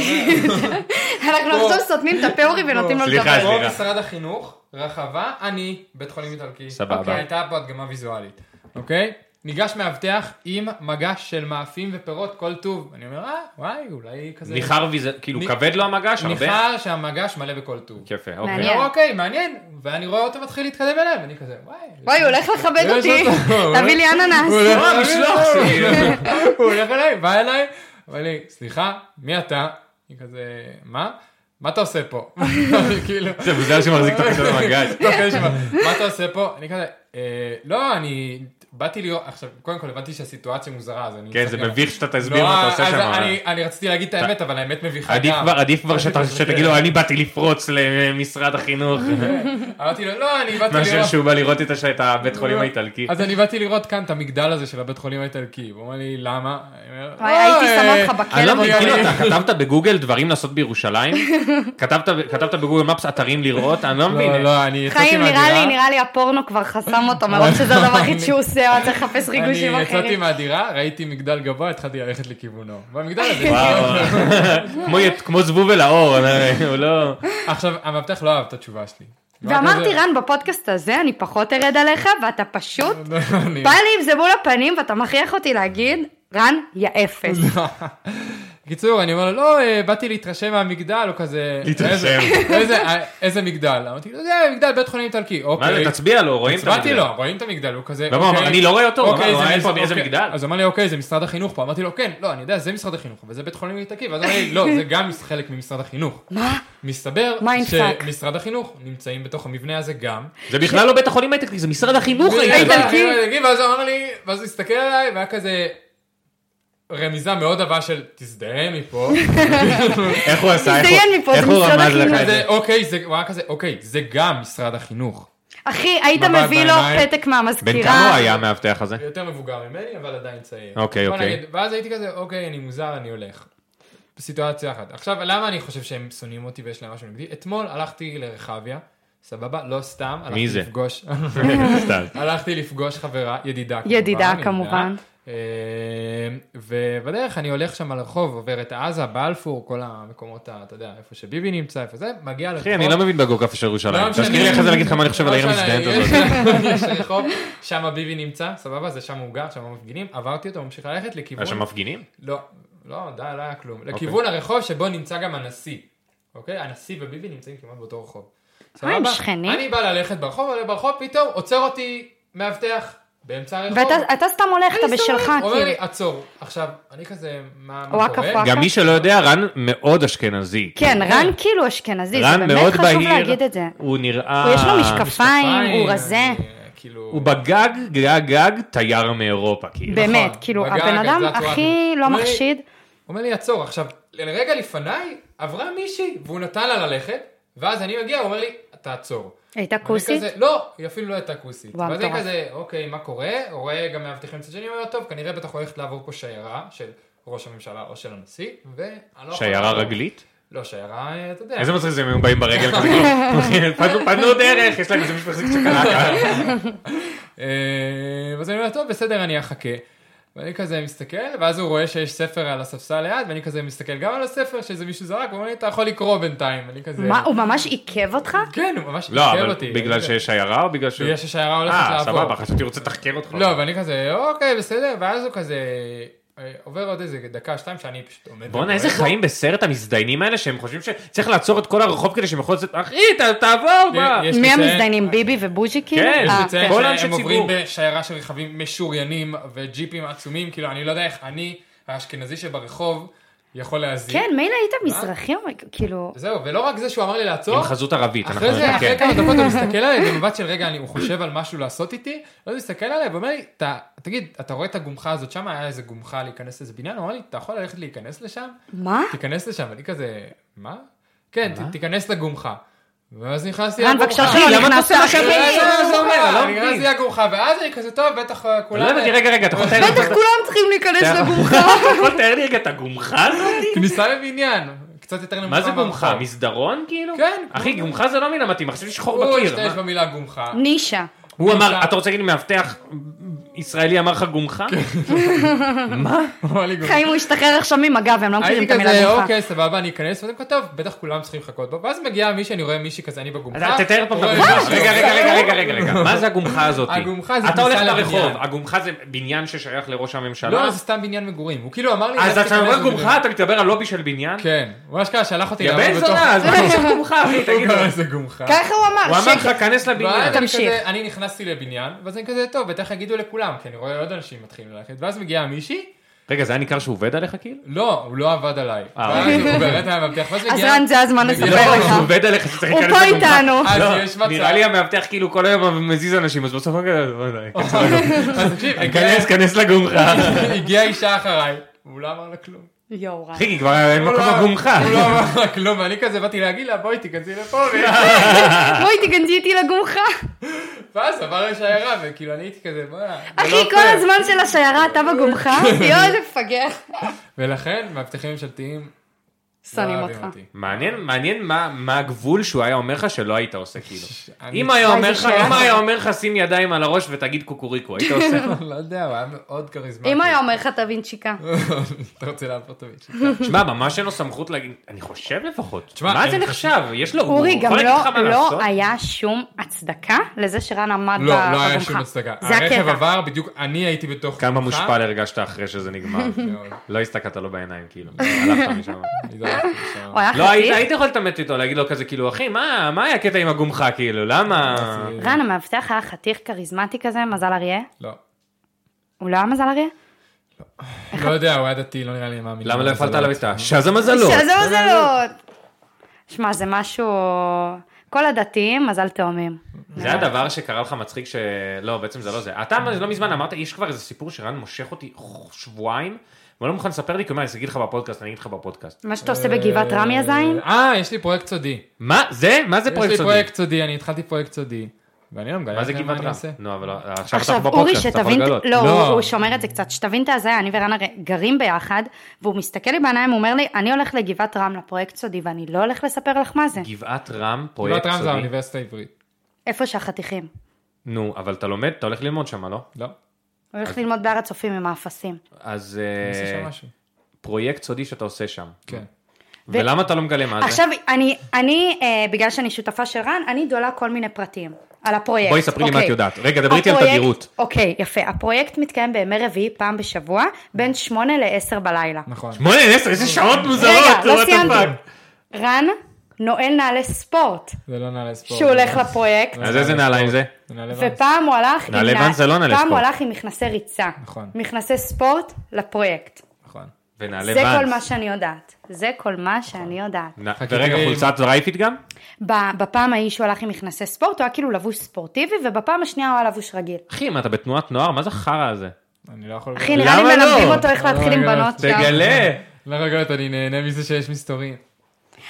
A: אומר,
B: אנחנו עכשיו סותמים את הפה אורי ונותנים לו
C: סליחה,
B: לדבר.
C: אה, סליחה.
A: פה משרד החינוך, רחבה, אני, בית חולים איטלקי.
C: סבבה.
A: אוקיי, הייתה פה הדגמה ויזואלית, אוקיי? ניגש מאבטח עם מגש של מאפים ופירות, כל טוב. אני אומר, אה, וואי, אולי כזה...
C: ניחר ויזה, כאילו
A: נ-
C: כבד לו המגש? הרבה?
A: ניחר שהמגש מלא בכל טוב.
C: יפה,
A: אני
C: אוקיי.
B: מעניין.
A: אומר, אוקיי, מעניין. ואני רואה אותו מתחיל להתקדם אליהם, אני כזה, וואי.
B: וואי, הוא הולך לכבד
A: יש
B: אותי.
A: אותו.
B: *laughs* תביא לי אננס.
A: הוא הולך
C: אה, *laughs*
A: אליי,
C: משלוח
A: הוא
C: שלי.
A: הולך- הוא הולך אליי, בא אליי, אומר לי, סליחה, מי אתה? אני כזה, מה? מה אתה עושה פה? *laughs* אני כאילו...
C: זה מוזר שמחזיק את הקצת במגש.
A: טוב, יש מה. מה אתה עושה פה? אני כזה, "אה, לא, אני באתי לראות, עכשיו, קודם כל הבנתי שהסיטואציה מוזרה, אז אני...
C: כן, זה
A: מסתכל.
C: מביך שאתה
A: לא,
C: תסביר מה אתה עושה
A: אז
C: שם.
A: אני- אני רציתי להגיד את האמת, אבל האמת מביכה גם.
C: עדיף כבר, עדיף כבר שאתה- שתגיד לו, אני באתי לפרוץ למשרד החינוך,
A: אמרתי לו, לא, אני באתי
C: מאשר
A: לראות...
C: שהוא בא לראות את הש- את הבית חולים האיטלקי.
A: אז אני באתי לראות כאן את המגדל הזה של הבית חולים האיטלקי, והוא אומר לי, למה? אני אומר,
B: וואי,
A: "לא,
B: הייתי שמה
A: אה,
B: אותך
C: אני לא
B: בכלא.
C: מבין,
A: אבל-
C: כאילו אתה כתבת בגוגל דברים לעשות בירושלים? כתבת כתבת בגוגל מפס אתרים לראות? אני לא מבין.
A: לא, לא, אני יצאתי
B: חיים,
A: מהדירה.
B: נראה לי, נראה לי הפורנו כבר חסם
A: *laughs*
B: אותו מרוב שזה הדבר היחיד שהוא עושה, הוא היה צריך לחפש ריגושים
A: אני יצאתי
B: אחרים.
A: מהדירה, ראיתי מגדל גבוה, התחלתי ללכת לכיוונו. במגדל הזה.
C: וואו, כמו י- כמו זבוב אל האור, אני- הוא לא...
A: עכשיו, המאבטח לא אהב את התשובה שלי.
B: ואמרתי, רן, בפודקאסט הזה אני פחות ארד עליך, ואתה
A: *laughs*
B: פשוט
A: אני-
B: בא לי עם זה מול הפנים, ואתה מכריח אותי להגיד, רן, יא
A: *laughs*
B: אפס.
A: קיצור, אני אומר לו, לא, אה, באתי להתרשם מהמגדל, או כזה...
C: להתרשם.
A: "איזה- איזה- אה, איזה מגדל? אמרתי לו, זה מגדל בית חולים איטלקי.
C: מה
A: אוקיי.
C: זה, תצביע לו, רואים את
A: הצבעתי
C: המגדל.
A: לו, רואים את המגדל, הוא כזה...
C: למה, הוא אמר,
A: "אוקיי,
C: "אני לא רואה אותו", הוא
A: אוקיי,
C: אמר,
A: זה
C: "אה, איפה-
A: משרד-
C: איזה
A: אוקיי."
C: מגדל?
A: אז הוא אמר לי, אוקיי, זה משרד החינוך פה. אמרתי לו, כן, לא, אני יודע, זה משרד החינוך, אבל זה בית חולים איטלקי. ואז הוא אמר לי, לא, זה גם חלק ממשרד החינוך.
B: מה?
A: מסתבר
B: מיינדפאק.
A: שמשרד החינוך נמצאים בתוך המבנה הזה גם.
C: זה בכלל לא בית החולים האיטלקי, זה משרד החינוך האיטלקי.
B: איטלקי.
A: ואז הוא אמר לי, ואז הוא הסתכל עליי, והיה כזה רמיזה מאוד עבה של תזדהה
C: *laughs*
A: מפה.
C: כן. איך הוא עשה? איך הוא-
B: תזדיין מפה, זה
C: איך הוא
B: משרד
C: רמז לך
B: החינוך.
C: את זה?
A: כזה, אוקיי, זה, הוא היה כזה, אוקיי, זה גם משרד החינוך.
B: אחי, היית
A: מבט
B: מביא לו
A: בעיניים.
B: פתק
C: בן
B: מהמזכירה.
C: כמה הוא היה
A: *laughs*
C: המאבטח הזה?
A: יותר מבוגר ממני, אבל עדיין צעיר.
C: אוקיי,
A: בוא
C: אוקיי.
A: נגיד, ואז הייתי כזה, אוקיי, אני מוזר, אני הולך. בסיטואציה אחת. עכשיו, למה אני חושב שהם שונאים אותי ויש להם משהו נגדי? אתמול הלכתי לרחביה, סבבה? לא סתם. הלכתי
C: מי זה?
A: לפגוש... *laughs*
C: סתם.
A: הלכתי לפגוש חברה, ידידה כמובן.
B: ידידה,
A: אני
B: כמובן.
A: יודע. אה, אמ, ובדרך אני הולך שם על הרחוב, עובר את עזה, בלפור, כל המקומות, ה- אתה יודע, איפה שביבי נמצא, איפה זה, מגיע לרחוב.
C: אחי, אני לא מבין בגוגרפיה של ירושלים.
A: לא משנה.
C: תזכיר לי אחרי זה להגיד לך מה אני חושב על העיר
A: לא משנה,
C: המזדיינת
A: יש- *laughs*
C: הזאת.
A: יש רחוב, שם ביבי נמצא, סבבה, זה שם הוא גר, שם המפגינים, עברתי אותו, ממשיך ללכת לכיוון...
C: היה שם אוקיי. מפגינים?
A: לא, לא, די, לא היה כלום. לכיוון הרחוב שבו נמצא גם הנשיא. אוקיי? הנשיא וביבי נמצאים כמעט באותו רחוב.
B: הם שכנים?
A: אני בא ללכת ברחוב, עולה ברחוב, פתאום עוצר אותי מאבטח באמצע הרחוב.
B: ואתה אתה נכון. סתם הולך, אתה
A: אני
B: בשלך,
A: מסתובב, הוא אומר לי,
B: כאילו.
A: עצור. עכשיו, אני כזה, מה מה
B: וואקה
A: קורה?
B: פאקה.
C: גם מי שלא יודע, רן מאוד אשכנזי.
B: כן, רן כאילו אשכנזי, זה
C: רן מאוד
B: באמת חשוב
C: בהיר,
B: להגיד את זה.
A: נכון.
C: הוא נראה...
B: הוא יש לו משקפיים,
A: שפיים,
B: הוא רזה.
A: אני, כאילו...
C: הוא בגג, גג, גג, תייר מאירופה, כאילו.
B: באמת,
A: נכון,
B: כאילו,
A: בגג,
B: הבן
A: אז
B: אדם
A: זה הצורה
B: הכי
A: הזאת. הוא
B: לא
A: אומר לי-
B: מחשיד.
A: הוא אומר לי, עצור. עכשיו, לרגע לפניי עברה מישהי, והוא נתן לה ללכת, ואז אני מגיע, הוא אומר לי, תעצור.
B: הייתה
A: אני
B: כוסית?
A: כזה, לא, היא אפילו לא הייתה כוסית.
B: וואו,
A: ואז אני
B: מטורף.
A: כזה, אוקיי, מה קורה? רואה גם מאבטחים מצד שני, אומר, טוב, כנראה בטח הולכת לעבור פה שיירה של ראש הממשלה או של הנשיא, ואני לא יכול
C: שיירה
A: לעבור.
C: רגלית?
A: לא, שיירה, אה, אתה יודע.
C: איזה מצחיק זה אם הם באים ברגל כזה,
A: *laughs*
C: כאילו, פנו- פנו דרך, יש להם איזה מישהו מחזיק שקלקה.
A: אה, ואז אני אומר, טוב, בסדר, אני אחכה. ואני כזה מסתכל, ואז הוא רואה שיש ספר על הספסל ליד, ואני כזה מסתכל גם על הספר שאיזה מישהו זרק, הוא אומר לי, אתה יכול לקרוא בינתיים. אני כזה...
B: מה, הוא ממש עיכב אותך?
A: כן, הוא ממש
C: לא,
A: עיכב
C: אבל
A: אותי.
C: בגלל
A: אני כזה-
C: שיש שיירה או בגלל ש...
A: בגלל שהשיירה הולכת
C: אה,
A: לעבור.
C: סבבה, חשבתי רוצה לתחקר אותך.
A: לא, ואני כזה, אוקיי, בסדר, ואז הוא כזה... אה, עובר עוד איזה דקה, שתיים, שאני פשוט עומד.
C: בואנה,
A: ורואה.
C: איזה חיים בסרט המזדיינים האלה שהם חושבים שצריך לעצור את כל הרחוב כדי שהם יכולים לצאת, אחי, ת- תעבור, מה?
A: אה, יש
B: מי
A: לציין-
B: המזדיינים, ביבי ובוז'י כאילו?
C: כן,
B: אה,
C: יש
A: לציין
C: כל אנשי
A: שהם עוברים
C: ציבור.
A: בשיירה של רכבים משוריינים וג'יפים עצומים, כאילו, אני לא יודע איך אני, האשכנזי שברחוב, יכול להזיק.
B: כן, מילא היית מזרחי, או- כאילו,
A: זהו, ולא רק זה שהוא אמר לי לעצור,
C: עם חזות ערבית, אנחנו
A: אחרי זה, אחרי
C: נתקן.
A: כמה דקות הוא מסתכל עליי במבט של רגע, אני- הוא חושב על משהו לעשות איתי, ואז הוא מסתכל עליי ואומר לי, "אתה- תגיד, אתה רואה את הגומחה הזאת שם? היה איזה גומחה להיכנס לאיזה בניין? הוא אמר לי, אתה יכול ללכת להיכנס לשם?
B: מה?
A: תיכנס לשם, ואני כזה, מה? כן, ת- תיכנס לגומחה. ואז נכנסתי
B: רן, בבקשה שלא
C: למה אתה
B: נכנסת
C: עושה מה
B: אחרי
C: שאני
A: אני
C: עושה?
B: זה.
A: לא
C: אני לא
A: זוכר, אני
C: מבין.
A: נכנסתי לגומחה, ואז אני כזה, טוב, בטח אה,
C: לא
A: כולם...
C: הבנתי, רגע,
A: *laughs*
C: רגע, אתה יכול לתאר לי-
B: בטח כולם צריכים להיכנס
A: כן.
C: אתה-
B: *laughs* לגורך.
C: אתה יכול לתאר לי רגע את הגומחה הזאת?
A: כניסה לבניין, קצת יותר נמוכה
C: מה זה גומחה?
A: מהרחוב.
C: מסדרון כאילו?
A: כן.
C: אחי, גומחה זה לא מילה מתאימה, חשבתי שחור
A: הוא
C: בקיר.
A: השתמש
C: מה?
A: במילה גומחה.
B: נישה.
C: הוא אמר,
A: גומחה.
C: אתה רוצה להגיד לי מאבטח ישראלי אמר לך גומחה?
A: כן.
C: מה?
A: הוא אמר לי גומחה.
B: חיים הוא השתחרר עכשיו ממג"ב, הם לא מכירים
A: הייתי
B: את המילה
A: כזה,
B: גורך.
A: אוקיי, סבבה, אני אכנס, ואז הוא כתב, בטח כולם צריכים לחכות בו, ואז מגיעה מישהי, אני רואה מישהי כזה, אני בגומחה.
C: אתה תתאר פעם את
A: רואה
C: הגומחה.
A: מישהו,
C: רגע, רגע, רגע, רגע, רגע,
A: *laughs*
C: רגע. מה זה הגומחה הזאת?
A: הגומחה זה
C: אתה
A: כניסה
C: הולך
A: לבניין.
C: לרחוב, הגומחה זה בניין ששייך לראש הממשלה?
A: לא, זה סתם בניין מגורים. הוא כאילו אמר לי...
C: אז
A: "לך
C: אתה אומר
A: תיכנס
C: גומחה,
A: לבניין".
C: אתה מתדבר על לובי של בניין?
A: כן, הוא אשכרה שלח אותי
C: יא
A: לעבוד
C: בן
A: בתוך- אוקיי.
C: זונה,
A: *laughs*
C: אז מה זה גומחה, אחי,
A: הוא
C: תגיד לו.
A: קרא לזה גומחה.
B: ככה הוא אמר,
C: הוא אמר לך,
B: שקט.
A: כן.
C: כנס לבניין.
A: ואז אני
B: תמשיך.
A: כזה, אני נכנסתי לבניין, ואז אני כזה, טוב, בטח יגידו לכולם, כי אני רואה עוד אנשים מתחילים ללכת, ואז מגיעה מישהי,
C: רגע, זה היה ניכר שהוא עובד עליך כאילו?
A: לא, הוא לא עבד עליי.
C: אה,
A: ואז
C: אוקיי.
A: הוא באמת היה מבטיח, ואז
B: אז
A: מגיעה...
B: רן, זה הזמן
A: מגיע- *laughs*
B: לספר
A: לא,
C: הוא
B: לך.
C: עובד עליך
B: *laughs*
C: שצריך
B: הוא
C: להיכנס
B: פה
C: לגומחה.
B: איתנו.
A: אז
C: לא,
A: יש אה, מצב.
C: נראה לי המאבטח כאילו כל היום מזיז אנשים, אז בסוף הוא כזה, לא יודע,
A: אז תקשיב, הגיעה-
C: כנס, כנס
A: *laughs*
C: לגומחה.
A: הגיעה אישה אחריי, והוא לא אמר לה כלום.
B: יואו, רן.
C: אחי, כבר אין מקום לגומחה.
A: הוא לא אמר לה כלום, ואני כזה באתי להגיד לה, בואי תיכנסי
C: *laughs*
A: לפה, והיא-
B: בואי תיכנסי איתי לגומחה.
A: ואז עבר לשיירה, וכאילו אני הייתי כזה, בואנה. זה לא
B: אחי, כל
A: פייר."
B: הזמן של השיירה אתה בגומחה? *laughs* יואו, זה
A: לא,
B: מפגר.
A: ולכן, מאבטחים ממשלתיים לא
B: שונאים
A: אוהבים
B: אותך.
A: אותי.
C: מעניין, מעניין מה, מה הגבול שהוא היה אומר לך שלא היית עושה כאילו.
A: אני- *laughs*
C: אם היה
B: וואי,
C: אומר
B: זה
C: לך,
B: שאלה.
C: אם היה אומר לך שים ידיים על הראש ותגיד קוקוריקו, היית עושה?
A: *laughs* לא יודע, הוא היה מאוד כריזמטי.
B: אם היה אומר לך תבין שיקה.
A: *laughs* אתה רוצה להפוך את
B: *laughs*
A: המישהו.
C: שמע, ממש אין לו סמכות להגיד, אני חושב לפחות.
A: תשמע,
C: מה
A: אני
C: זה
A: חושב-
C: נחשב? יש לו,
B: אורי,
C: לא, הוא
B: גם
C: יכול להגיד לך מה
B: לא-
C: לעשות?
B: לא היה שום הצדקה לזה שרן עמד ב-
A: לא,
B: בגומחה.
A: לא היה שום הצדקה.
B: זה
A: הרכב
B: הקטע.
A: עבר, בדיוק אני הייתי בתוך...
C: כמה
A: גומחה.
C: מושפל הרגשת אחרי שזה נגמר.
B: *laughs*
A: מאוד.
C: לא הסתכלת לו בעיניים כאילו, הלכת משם.
A: אני לא הלכתי לשם.
B: הוא היה
C: לא, היית
B: חצי.
C: היית יכול להתעמת איתו, להגיד לו כזה כאילו, אחי, מה מה היה הקטע עם הגומחה כאילו, למה?
A: זה-
B: רן המאבטח היה חתיך כריזמטי כזה, מזל אריה.
A: לא.
B: הוא לא היה מזל אריה?
A: לא יודע, הוא היה דתי, לא נראה לי מאמין.
C: למה לא הפעלת
A: זה
C: עליו את השזה מזלות?
B: שזה
C: לא.
B: מזלות. לא, שמע, זה משהו... כל הדתיים, מזל תאומים.
C: זה
A: נכון.
C: הדבר שקרה לך מצחיק ש... לא, בעצם זה לא זה. אתה לא מזמן אמרת, יש כבר איזה סיפור שרן מושך אותי שבועיים, והוא לא מוכן לספר לי, כי הוא אומר, אני אגיד לך בפודקאסט, אני אגיד לך בפודקאסט.
B: מה שאתה עושה בגבעת רמי הזין?
A: אה, יש לי פרויקט סודי.
C: מה? זה? מה זה
A: יש
C: פרויקט
A: לי
C: סודי?
A: פרויקט סודי, אני התחלתי פרויקט סודי. ואני לא מגלה
C: מה זה
A: לכם מה
C: גבעת
A: אני
C: רם?
A: עושה.
C: נו, אבל עכשיו
B: עכשיו,
C: אה, אתה
B: אורי,
C: בפודקאסט, אתה יכול
B: שתבין,
C: לגלות.
B: לא,
A: לא.
B: הוא- הוא שומר את זה קצת, שתבין את הזה, אני ורן הרי גרים ביחד, והוא מסתכל לי בעיניים, הוא אומר לי, אני הולך לגבעת רם לפרויקט סודי, ואני לא הולך לספר לך מה זה.
C: גבעת רם,
A: גבעת
C: פרויקט
A: רם זה
C: סודי.
A: האוניברסיטה העברית.
B: איפה שהחתיכים.
C: נו, אבל אתה לומד, אתה הולך ללמוד שם, לא?
A: לא?
B: הוא הולך ללמוד בהר הצופים עם האפסים.
C: אז
A: אני
C: אה,
A: עושה שם משהו.
C: פרויקט סודי שאתה עושה שם.
A: כן.
C: ולמה אתה לא מגלה מה זה?
B: עכשיו, אני, אני, אה, בגלל שאני שותפה של רן, אני דולה כל מיני פרטים על הפרויקט.
C: בואי, ספרי לי מה
B: אוקיי.
C: את יודעת. רגע, דברי איתי על
B: הפרויקט-
C: תדירות.
B: אוקיי, יפה. הפרויקט מתקיים בימי רביעי פעם בשבוע, בין שמונה לעשר בלילה.
A: נכון.
C: שמונה, עשר, איזה שעות מוזרות.
B: רגע,
C: what
B: לא
C: the
B: סיימתי.
C: fuck.
B: רן נועל נעלי ספורט
A: זה לא נעלי ספורט.
B: שהוא הולך
C: נכון.
B: לפרויקט,
C: אז איזה נעליים זה?
A: זה נעלי ואנס.
B: ופעם הוא הלך עם
C: נעלי
B: נע-
C: ואן זה לא נעלי
B: פעם הוא
C: ספורט.
B: הלך עם מכנסי ריצה.
A: נכון.
B: מכנסי ספורט לפרויקט.
A: נכון.
C: ונעלי
B: זה כל
C: ואנס.
B: מה שאני יודעת. זה כל מה שאני יודעת.
C: נ-
A: חכה,
C: ורגע,
A: תראי.
C: חולצת רייפית גם?
B: ב- בפעם ההיא שהוא הלך עם מכנסי ספורט, הוא היה כאילו לבוש ספורטיבי, ובפעם השנייה הוא היה לבוש רגיל.
C: אחי, מה אתה בתנועת נוער? מה זה חרא הזה?
A: אני לא יכול...
B: אחי, נראה לי
C: למה לא?
B: מלמדים אותו איך
A: לא,
B: להתחיל עם
A: רגע,
B: בנות שם.
C: תגלה.
A: לא רגעות, אני נהנה מזה שיש מסתורים.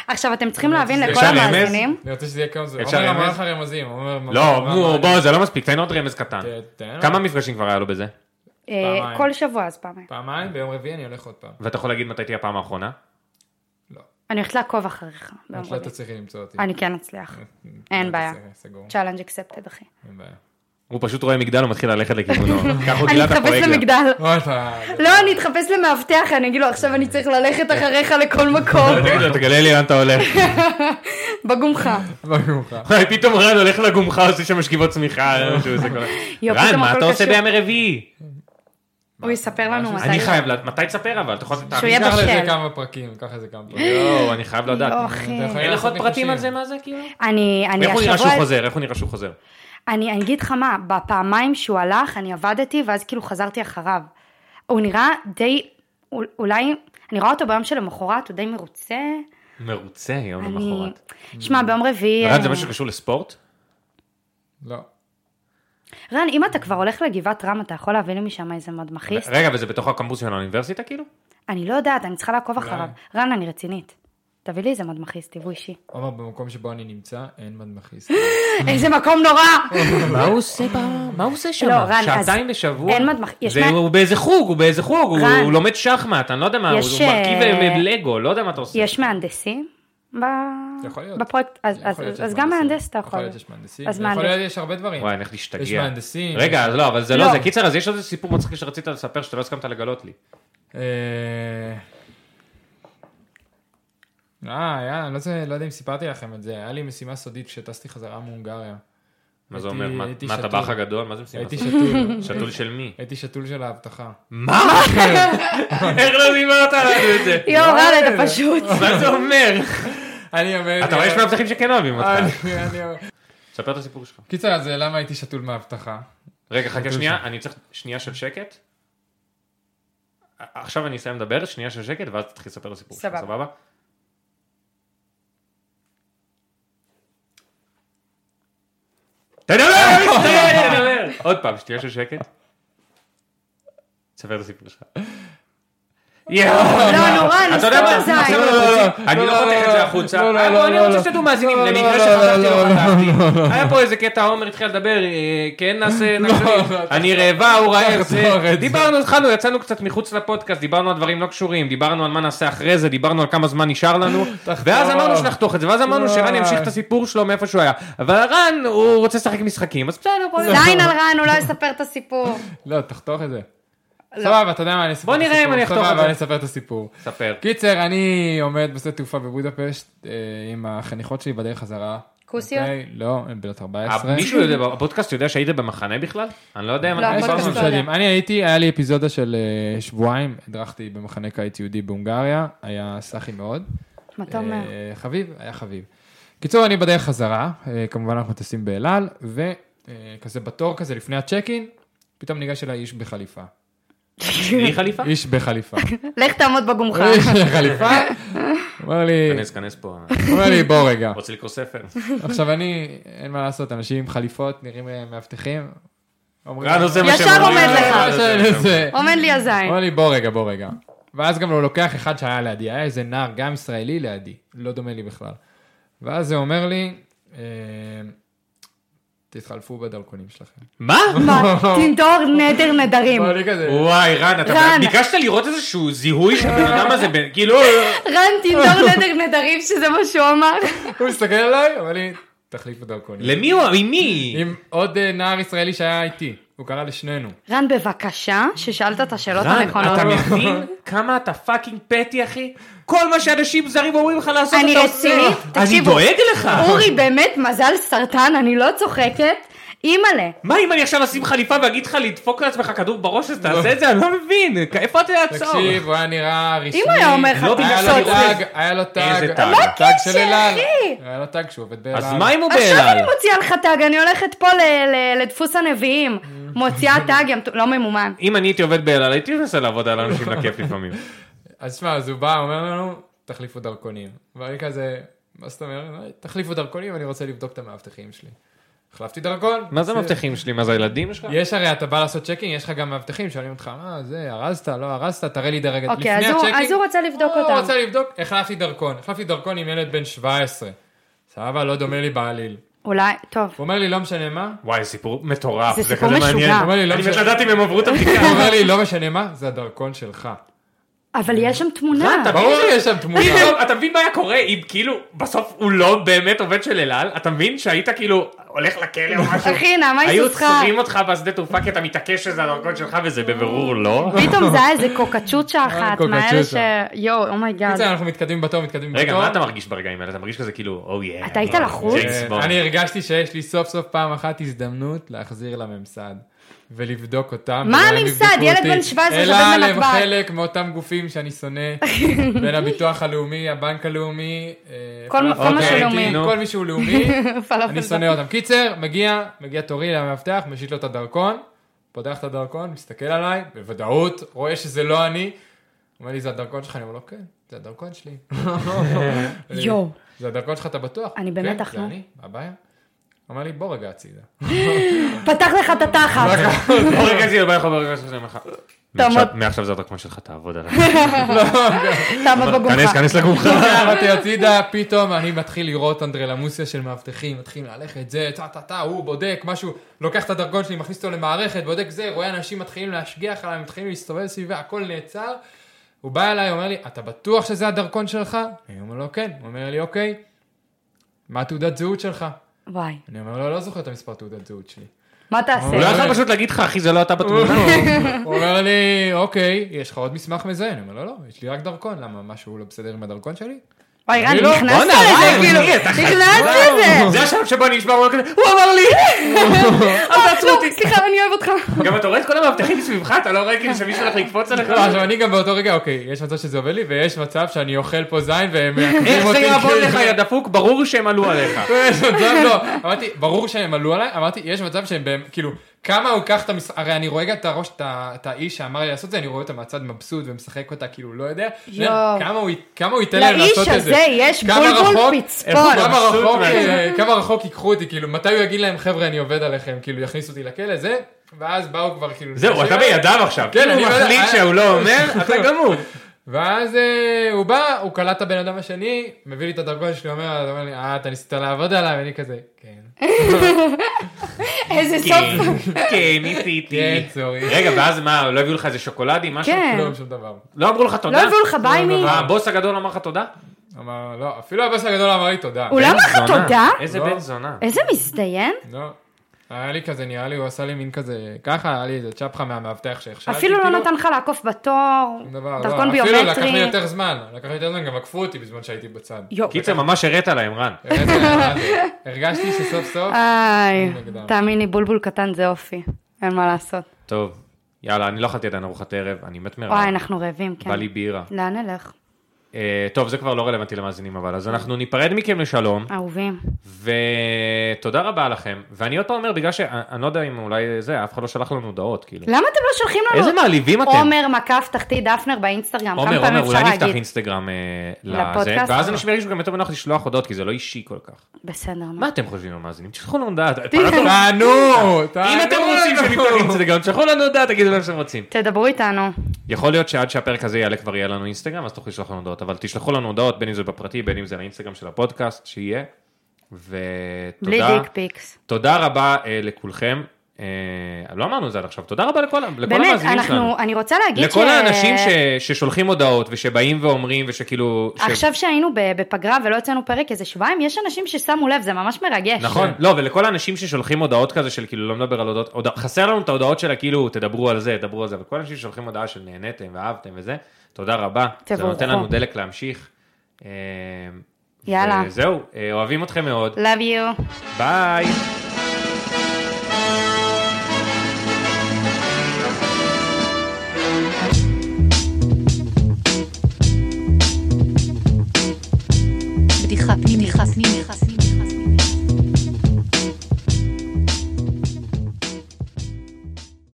B: עכשיו, אתם צריכים להבין לכל
C: אפשר רמז?
B: המאזינים.
A: אני רוצה שזה יהיה כמה זה.
C: אפשר
A: עומר אמר
C: רמז?
A: לך רמזים. עומר אמר
C: לא,
A: אמר-
C: נו,
A: אמר-
C: בוא, זה לא מספיק, תן עוד רמז קטן.
B: כן.
A: תן לו.
C: כמה מפגשים כבר היה לו בזה?
B: אה,
A: פעמיים.
B: כל שבוע אז פעמיים.
A: פעמיים, ביום רביעי אני הולך עוד פעם.
C: ואתה יכול להגיד מתי תהיה הפעם האחרונה?
A: לא.
B: אני הולכת לעקוב אחריך. ביום
A: את לא
B: רביעי.
A: תצליחי למצוא אותי. לא
B: אני כן אצליח. אין בעיה.
A: סגור.
B: צ'אלנג' אקספטד, אחי.
A: אין בעיה.
C: הוא פשוט רואה מגדל ומתחיל ללכת
B: *laughs*
C: לכיוונו. ככה הוא
B: אני
C: גילה את
B: אתחפש
C: הפרויקט. גם.
B: למגדל.
A: אוי, אתה...
B: לא, אני אתחפש למאבטח, אני אגיד לו, עכשיו אני צריך ללכת אחריך לכל
C: *laughs*
B: מקום,
C: לא, תגיד לו, תגלה לי לאן אתה
B: *laughs*
C: הולך. *laughs*
B: בגומחה.
A: לא יאומן.
C: וואי, פתאום רן הולך לגומחה, עושה שם משכיבות צמיחה. לא משהו, זה כל ה-
B: יופי,
C: רן,
B: פתאום
C: מה
B: הכל
C: אתה עושה
B: קשור.
C: בימי רביעי?
B: הוא יספר לנו מתי.
C: אני חייב, לדעת- מתי תספר אבל? אתה יכול לתת
B: שהוא יהיה
A: קח לזה
B: בשל.
A: כמה פרקים, קח לזה כמה פרקים.
C: יואו, אני חייב לדעת.
B: לא, אחי.
A: אתה יכול
C: אין לך
A: לעשות
C: עוד פרטים
A: ניחושים.
C: על זה, מה זה כאילו?
B: אני, אני
C: איך הוא נראה שהוא
B: השבוע,
C: חוזר? איך הוא נראה שהוא חוזר?
B: אני אני אגיד לך מה, בפעמיים שהוא הלך, אני עבדתי, ואז כאילו חזרתי אחריו. הוא נראה די, אול- אולי, אני רואה אותו ביום שלמחרת, הוא די מרוצה.
C: מרוצה יום
B: אני-
C: למחרת.
B: שמע, ביום רביעי...
C: רן,
B: אה,
C: זה משהו שקשור לספורט?
A: לא.
B: רן, אם אתה כבר הולך לגבעת רם, אתה יכול להביא לי משם איזה מדמכיסט?
C: רגע, וזה בתוך הקמפוס של האוניברסיטה כאילו?
B: אני לא יודעת, אני צריכה לעקוב אחריו.
A: רן.
B: רן, אני רצינית. תביא לי איזה מדמכיסט, תבוא אישי. *laughs*
A: עומר, במקום שבו אני נמצא, אין מדמכיסט.
B: איזה מקום
C: *laughs*
B: נורא!
C: *laughs* מה הוא עושה ב- מה הוא עושה שם?
B: לא, רן, אז
C: שעתיים בשבוע?
B: אין מדמח- יש
C: זה-
B: מה-
C: הוא באיזה חוג, הוא באיזה חוג, הוא-
B: רן.
C: הוא לומד שחמט, אני לא יודע מה, הוא
B: יש,
C: הוא מרכיב
B: אה,
C: לגו, לא יודע מה אתה עושה.
B: יש מהנדסים ב...
A: יכול להיות.
B: בפרויקט? אז-
A: יכול
B: אז-
A: להיות שיש
B: אז גם
A: מהנדסים.
B: מהנדס אתה יכול.
A: יכול להיות שיש מהנדסים.
B: אז
A: יכול
B: מהנדס.
A: להיות יש הרבה דברים.
C: וואי, אני הולך להשתגע.
A: יש מהנדסים.
C: רגע, אז לא, אבל זה
B: לא.
C: לא זה. קיצר, אז יש עוד איזה סיפור מצחיק שרצית לספר שאתה לא הסכמת לגלות לי.
A: אה, אה, היה, אני לא זה- לא יודע אם סיפרתי לכם את זה, היה לי משימה סודית כשטסתי חזרה מהונגריה.
C: מה זה
A: הייתי-
C: אומר? מה-
A: הייתי
C: מה
A: שתול.
C: הטבח הגדול? מה זה משימה?
A: הייתי
C: הזאת?
A: שתול.
C: שתול של מי?
A: הייתי שתול של האבטחה.
C: מה? *laughs* איך לא דיברת עלינו את
B: *laughs*
C: זה?
B: יואו, רן, אתה פשוט.
C: מה זה אומר?
A: *laughs* אני אומר...
C: אתה רואה, יש מאבטחים שכן אוהבים אותך.
A: אה, אני- אני אומר-
C: ספר את הסיפור שלך.
A: קיצר, אז אה, למה הייתי שתול מהאבטחה?
C: רגע, חכה שנייה, אני צריך שנייה של שקט. עכשיו אני אסיים לדבר, שנייה של שקט, ואז תתחיל לספר את הסיפור שלך,
B: סבבה.
C: סבבה? תדבר, תדבר, תדבר. עוד פעם, שנייה של שקט. תספר את הסיפור שלך. יואו.
B: לא, נורא,
C: אתה יודע מה,
B: נסתום
C: עכשיו אנחנו
B: זין.
C: רוצים, אני לא חותך את זה החוצה, אה, לא, אני רוצה שתדעו מאזינים, למקרה שחתכתי לא חתכתי, היה פה איזה קטע עומר התחיל לדבר, אה, כן *laughs* נעשה, נעשה,
A: לא,
C: אני רעבה, הוא לא, רעב,
A: תחזור את
C: זה,
A: זה.
C: דיברנו, התחלנו, יצאנו קצת מחוץ לפודקאסט, דיברנו על דברים לא קשורים, דיברנו על מה נעשה אחרי זה, דיברנו על כמה זמן נשאר לנו, ואז אמרנו שנחתוך את זה, ואז אמרנו שרן
A: וואי.
C: ימשיך את הסיפור שלו מאיפה שהוא היה, אבל רן, הוא רוצה לשחק משחקים, אז בסדר, בוא נראה.
B: זין על רן, הוא לא יספר את הסיפור.
A: לא, תחתוך את זה.
B: לא.
A: סבבה, אתה יודע מה, אני אספר
C: בוא
A: את
C: נראה
A: הסיפור.
C: אם אני אחתוך את
A: סבבה,
C: זה.
A: אני אספר את הסיפור.
C: ספר.
A: קיצר, אני עומד בשדה תעופה בבודפשט אה, עם החניכות שלי בדרך חזרה.
B: כוסיות?
A: אוקיי? לא, הן בנות 14.
C: אה, מישהו יודע, הפודקאסט יודע שהיית במחנה בכלל? אני לא יודע אם
B: לא,
C: אתם
A: אה, יש
B: הפודקאסט
A: אנשים
C: דיברנו על זה.
B: לא יודע.
A: שיודעים. אני הייתי, היה לי אפיזודה של אה, שבועיים, הדרכתי במחנה קיץ יהודי בהונגריה, היה סאחי מאוד.
B: מה אתה אומר?
A: אה, חביב, היה חביב. קיצור, אני בדרך חזרה, אה, כמובן אנחנו טסים באל על, וכזה בתור כזה לפני הצ'ק אין, פתאום ניגש אליי איש בחליפה.
C: בלי חליפה?
A: איש
B: *laughs*
A: בחליפה.
C: אה.
B: לך תעמוד בגומך.
A: איש בחליפה, אומר לי,
C: כנס, כנס פה,
A: אומר לי, בוא רגע.
C: רוצה לקרוא
B: *laughs*
C: ספר.
A: עכשיו אני, אין מה לעשות, אנשים עם חליפות נראים אה, מאבטחים. אומרים-
C: רן עושה מה
B: ישר
C: שאומרים.
B: עומד לך.
C: אה, זה- זה- זה-
A: זה-
B: עומד לי הזין.
A: הוא אמר לי, בוא רגע, בוא רגע. ואז גם הוא לוקח אחד שהיה לידי, היה איזה נער, גם ישראלי לידי, לא דומה לי בכלל. ואז זה אומר לי, אה, תתחלפו בדרכונים שלכם.
C: מה?
B: מה? תנדור נדר נדרים.
A: ואני כזה,
C: וואי, רן, אתה
B: רן.
C: ביקשת לראות איזשהו זיהוי של הבן אדם הזה, ב- כאילו,
B: רן, תנדור נדר נדרים, שזה מה שהוא אמר.
A: הוא מסתכל עליי, אומר לי, תחליפו דרכונים.
C: למי הוא, עם מי?
A: עם עוד אה, נער ישראלי שהיה איתי, הוא קרא לשנינו.
B: רן, בבקשה, ששאלת את השאלות
C: רן,
B: הנכונות.
C: אתה מבין כמה אתה פאקינג פטי, אחי? כל מה שאנשים זרים אומרים לך לעשות,
B: אני
C: אתה עושה.
B: רצינית,
C: אני
B: תקשיבו.
C: דואג לך.
B: אורי, באמת, מזל סרטן, אני לא צוחקת. אימא'לה.
C: מה אם אני עכשיו אשים חליפה ואגיד לך לדפוק לעצמך כדור בראש, אז תעשה את זה? אני לא מבין. איפה אתה יעצור?
A: תקשיב, הוא היה נראה רשמי.
B: הוא היה אומר לך,
A: היה לו
C: "תעשו את זה".
A: טאג, היה לו טאג.
C: איזה טאג?
A: היה לו
C: מה
A: של
B: הקשר,
A: אל על.
B: לא אחי?
A: היה לו טאג שהוא עובד באל על.
C: אז מה אם הוא
B: עכשיו אני
C: באלעל?
B: מוציאה לך טאג, אני הולכת פה ל- ל- לדפוס הנביאים. מוציאה טאג, ים- לא ממומן.
C: אם אני הייתי עובד באלעל, הייתי מנסה לעבוד על אנשים לכיף לפעמים.
A: אז שמע, אז הוא בא, אומר לנו, תחליפו דרכונים. ואני כזה, מה זאת אומרת? "אה, תחליפו דרכונים, אני רוצה לבדוק את המאבטחים שלי. החלפתי דרכון.
C: מה זה
A: בסדר.
C: המבטחים שלי? מה זה הילדים שלך?
A: יש הרי, אתה בא לעשות צ'קינג, יש לך גם מאבטחים, שואלים אותך, מה זה, הרסת, לא הרסת, תראה לי דרגת.
B: אוקיי, אז הוא- אז הוא רצה לבדוק
A: הוא
B: אותם.
A: רצה לבדוק, החלפתי דרכון. החלפתי דרכון עם ילד בן 17. סבבה, לא דומה לי בעליל.
B: אולי, טוב.
A: הוא אומר לי, לא משנה מה.
C: וואי, סיפור מטורף.
B: זה סיפור
C: כזה
B: משוגע.
C: מעניין.
A: הוא אומר לי, לא
C: אני מת
A: משנה.
C: לדעת אם הם עברו את *laughs* הבדיקה.
A: הוא
B: *laughs*
A: אומר לי, לא משנה מה, זה הדרכון שלך.
B: אבל יש שם תמונה.
C: רן, אתה
A: ברור שיש שם תמונה.
C: פתאום, אתה מבין מה היה קורה אם כאילו בסוף הוא לא באמת עובד של אל על? אתה מבין שהיית כאילו הולך לכלא או משהו?
B: אחי, נעמה
C: היו
B: היסוסך.
C: עוצרים אותך בשדה תעופה כי אתה מתעקש שזה הדרכון שלך וזה בבירור לא?
B: פתאום זה היה איזה קוקצ'וצ'ה אחת, מהאלה ש...
A: אה, קוקצ'וצ'ה.
B: יואו, oh אומייגאד.
A: קיצר, אנחנו מתקדמים בתור, מתקדמים בתור. אה,
C: רגע, מה אתה מרגיש ברגעים האלה? אתה מרגיש כזה כאילו, או יא.
B: אתה היית לחוץ?
C: ג'יימס בונד.
A: אני הרגשתי שיש לי סוף סוף פעם אחת הזדמנות להחזיר לממסד. ולבדוק אותם.
B: מה
A: ואולי הם
B: הממסד?
A: יבדקו
B: ילד
A: אותי.
B: בן 17
A: אלא
B: שעובד
A: הם
B: בנתב"ג.
A: חלק מאותם גופים שאני שונא,
B: *laughs*
A: בין הביטוח הלאומי, הבנק הלאומי, אה,
B: כל- כל מה
A: פלאפל
C: שלאומי.
A: דתי,
C: נו.
A: כל מי שהוא לאומי,
B: פלאפל
A: אני
B: דתי.
A: שונא אותם. קיצר, מגיע, מגיע תורי למאבטח, משיט לו את הדרכון, פותח את הדרכון, מסתכל עליי, בוודאות, רואה שזה לא אני, אומר לי, זה הדרכון שלך? אני אומר לו, כן, זה הדרכון שלי.
B: יואו.
A: זה הדרכון שלך, אתה בטוח?
B: אני במתח,
A: כן, זה
B: נו.
A: אני, מה הבעיה? אמר לי, בוא רגע הצידה. *laughs*
B: פתח לך את
A: לא,
B: התחת.
C: בוא רגע, זה בא לך, בוא רגע, זה בא לך.
B: תעמוד.
C: מעכשיו- מעכשיו זה הדרכון שלך, תעבוד
B: *laughs*
C: עליו.
A: לא,
B: תעמוד
C: כנס,
B: בגומך.
C: כנס
B: *laughs*
C: לגומך.
A: באתי הצידה, פתאום אני מתחיל לראות אנדרלמוסיה של מאבטחים, מתחיל ללכת, זה, טה טה טה, הוא בודק, משהו, לוקח את הדרכון שלי, מכניס אותו למערכת, בודק זה, רואה אנשים מתחילים להשגיח עליי, מתחילים להסתובב סביבה, הכל נעצר. הוא בא אליי, אומר לי, אתה בטוח שזה הדרכון שלך? אני אומר לו, כן. הוא אומר לי, אוקיי, מה תעודת זהות שלך?
B: וואי,
A: אני אומר לו, לא זוכר את המספר תעודת זהות שלי.
B: מה
C: הוא לא
B: תעשה?
A: אולי-
C: יכול פשוט להגיד לך, אחי, זה לא אתה בתמונה.
B: *laughs*
A: הוא אומר לי, אוקיי, יש לך עוד מסמך מזהה? אני אומר לו, לא, יש לי רק דרכון, למה, משהו לא בסדר עם הדרכון שלי?
B: וואי, רן,
A: אני לא-
B: נכנסת
C: בואנה,
B: לזה,
C: רן,
B: כאילו,
C: אני, אתה חי-
B: נכנסת לזה.
C: זה השלב שבו אני נשמע הוא כזה, הוא אמר
B: *laughs*
C: לי!
B: אה, לא, סליחה, אני אוהב אותך.
C: גם אתה רואה את כל המאבטחים מסביבך, אתה לא רואה כאילו שמישהו הולך לקפוץ עליך?
A: לא, עכשיו אני גם באותו רגע, אוקיי, יש מצב שזה עובד לי, ויש מצב שאני אוכל פה זין והם מעכבים
C: איך
A: אותי.
C: זה יעבור
A: כאילו.
C: לך, יא דפוק? ברור שהם עלו עליך.
A: יש מצב, לא, אמרתי, ברור שהם עלו עליי, אמרתי, יש מצב שהם, בהם- כאילו, כמה הוא קח את המשחק, הרי אני רואה גם את הראש, את ה- את האיש שאמר לי לעשות את זה, אני רואה אותה מהצד מבסוט ומשחק אותה, כאילו, לא יודע.
B: יואו.
A: כמה הוא י- כמה הוא ייתן להם
B: לאיש
A: לעשות את זה.
B: הזה יש
A: כמה
B: בולבול
A: רחוק-
B: פצפון.
A: כמה
C: מבסוט
A: רחוק,
C: מה-
A: אה, כמה רחוק ייקחו אותי, כאילו, מתי הוא יגיד להם, חבר'ה, אני עובד עליכם, כאילו, יכניסו אותי לכלא, זה, ואז באו כבר, כאילו,
C: זהו, אתה בידיו עכשיו.
A: כן,
C: כן,
A: אני
C: הוא
A: יודע,
C: מחליט
A: אה,
C: שהוא לא אומר,
B: *laughs*
C: אתה גמור.
A: ואז אה, הוא בא, הוא קלט את הבן אדם השני, מביא לי את הדרכון שלי, אומר, אז אומר לי, אה, אתה ניסית לעבוד עליי, ואני כזה,
B: אה.
A: כן.
B: איזה
C: כן,
B: סוף.
C: כן, ניסיתי.
A: כן, סורי.
C: רגע, ואז מה, לא הביאו לך איזה שוקולדים, משהו?
B: כן.
A: כלום, שום דבר.
C: לא אמרו לך
A: כן.
B: לא
C: תודה?
B: הביאו לך ביי מי?
A: לא.
C: מה, הבוס הגדול אמר לך תודה?
A: אמר, לא, אפילו הבס הגדול אמר לי תודה.
B: הוא לא אמר לך
C: בן זונה.
B: תודה? אה,
C: איזה
A: לא.
C: בן זונה.
B: איזה מזדיין?
A: לא. היה לי כזה, נראה לי, הוא עשה לי מין כזה, ככה, היה לי איזה צ'פחה מהמאבטח שהכשלתי.
B: אפילו לא
A: כאילו.
B: נתן לך לעקוף בתור,
A: שום דבר, לא.
B: דרכון
A: אפילו לקח לי
B: ביומטרי.
A: יותר זמן, לקח לי יותר זמן, גם עקפו אותי בזמן שהייתי בצד.
B: יואו.
C: קיצר, ממש הראת להם, רן.
A: הראיתי להם, הרגשתי שסוף סוף,
B: אה. איי,
A: נגדם.
B: תאמין לי, בולבול קטן זה אופי, אין מה לעשות.
C: טוב, יאללה, אני לא אכלתי עדיין ארוחת ערב, אני מת מרעב.
B: וואי, אנחנו רעבים, כן.
C: אה, בא לי בירה.
B: לאן נלך?
C: אה, טוב, זה כבר לא רלוונטי למאזינים, אבל אז אנחנו ניפרד מכם לשלום,
B: אהובים.
C: ותודה רבה לכם. ואני עוד פעם אומר, בגלל שאני לא יודע אם אולי זה, אף אחד לא שלח לנו הודעות, כאילו.
B: למה אתם לא שולחים לנו?
C: איזה מעליבים אתם.
B: עומר מקף תחתית דפנר באינסטגרם,
C: עומר,
B: כמה
C: עומר,
B: פעמים
C: אולי
B: אפשר
C: נפתח
B: להגיד?
C: אינסטגרם אה, לזה,
B: לפודקאסט?
C: ואז אנשים ירגישו גם יותר בנוח לשלוח הודעות, כי זה לא אישי כל כך.
B: בסדר, נו.
C: מה אתם חושבים המאזינים? תשלחו לנו הודעה.
A: תענו, תענו.
C: אם אתם רוצים שנפתח אינסטגרם, תשלחו לנו הודעה, תגידו להם שאתם רוצים.
B: תדברו איתנו.
C: יכול להיות שעד שהפרק הזה יעלה כבר יהיה לנו אינסטגרם, אז תוכלו לשלוח לנו הודעות, אבל תשלחו לנו הודעות, בין אם זה בפרטי, בין אם זה לאינסטגרם של הפודקאסט, שיהיה.
B: בלי
C: ותודה.
B: דיק פיקס.
C: תודה רבה אה, לכולכם. אה, לא אמרנו את זה עד עכשיו, תודה רבה לכל, לכל
B: באמת,
C: המאזינים שלנו.
B: אנחנו, אני רוצה להגיד
C: לכל האנשים ש... ששולחים הודעות ושבאים ואומרים ושכאילו... ש-
B: עכשיו שהיינו ב- בפגרה ולא יצאנו פרק איזה שבועיים, יש אנשים ששמו לב, זה ממש מרגש.
C: נכון, לא, ולכל האנשים ששולחים הודעות כזה של כאילו לא מדבר על הודעות, הודע... חסר לנו את ההודעות שלה כאילו תדברו על זה, תדברו על זה, וכל האנשים ששולחים הודעה של נהניתם ואהבתם וזה, תודה רבה, זה
B: תבורכו.
C: נותן לנו דלק להמשיך. אה,
B: יאללה.
C: וזהו, אה, אוהבים אתכם מאוד,
B: Love you.
C: ביי.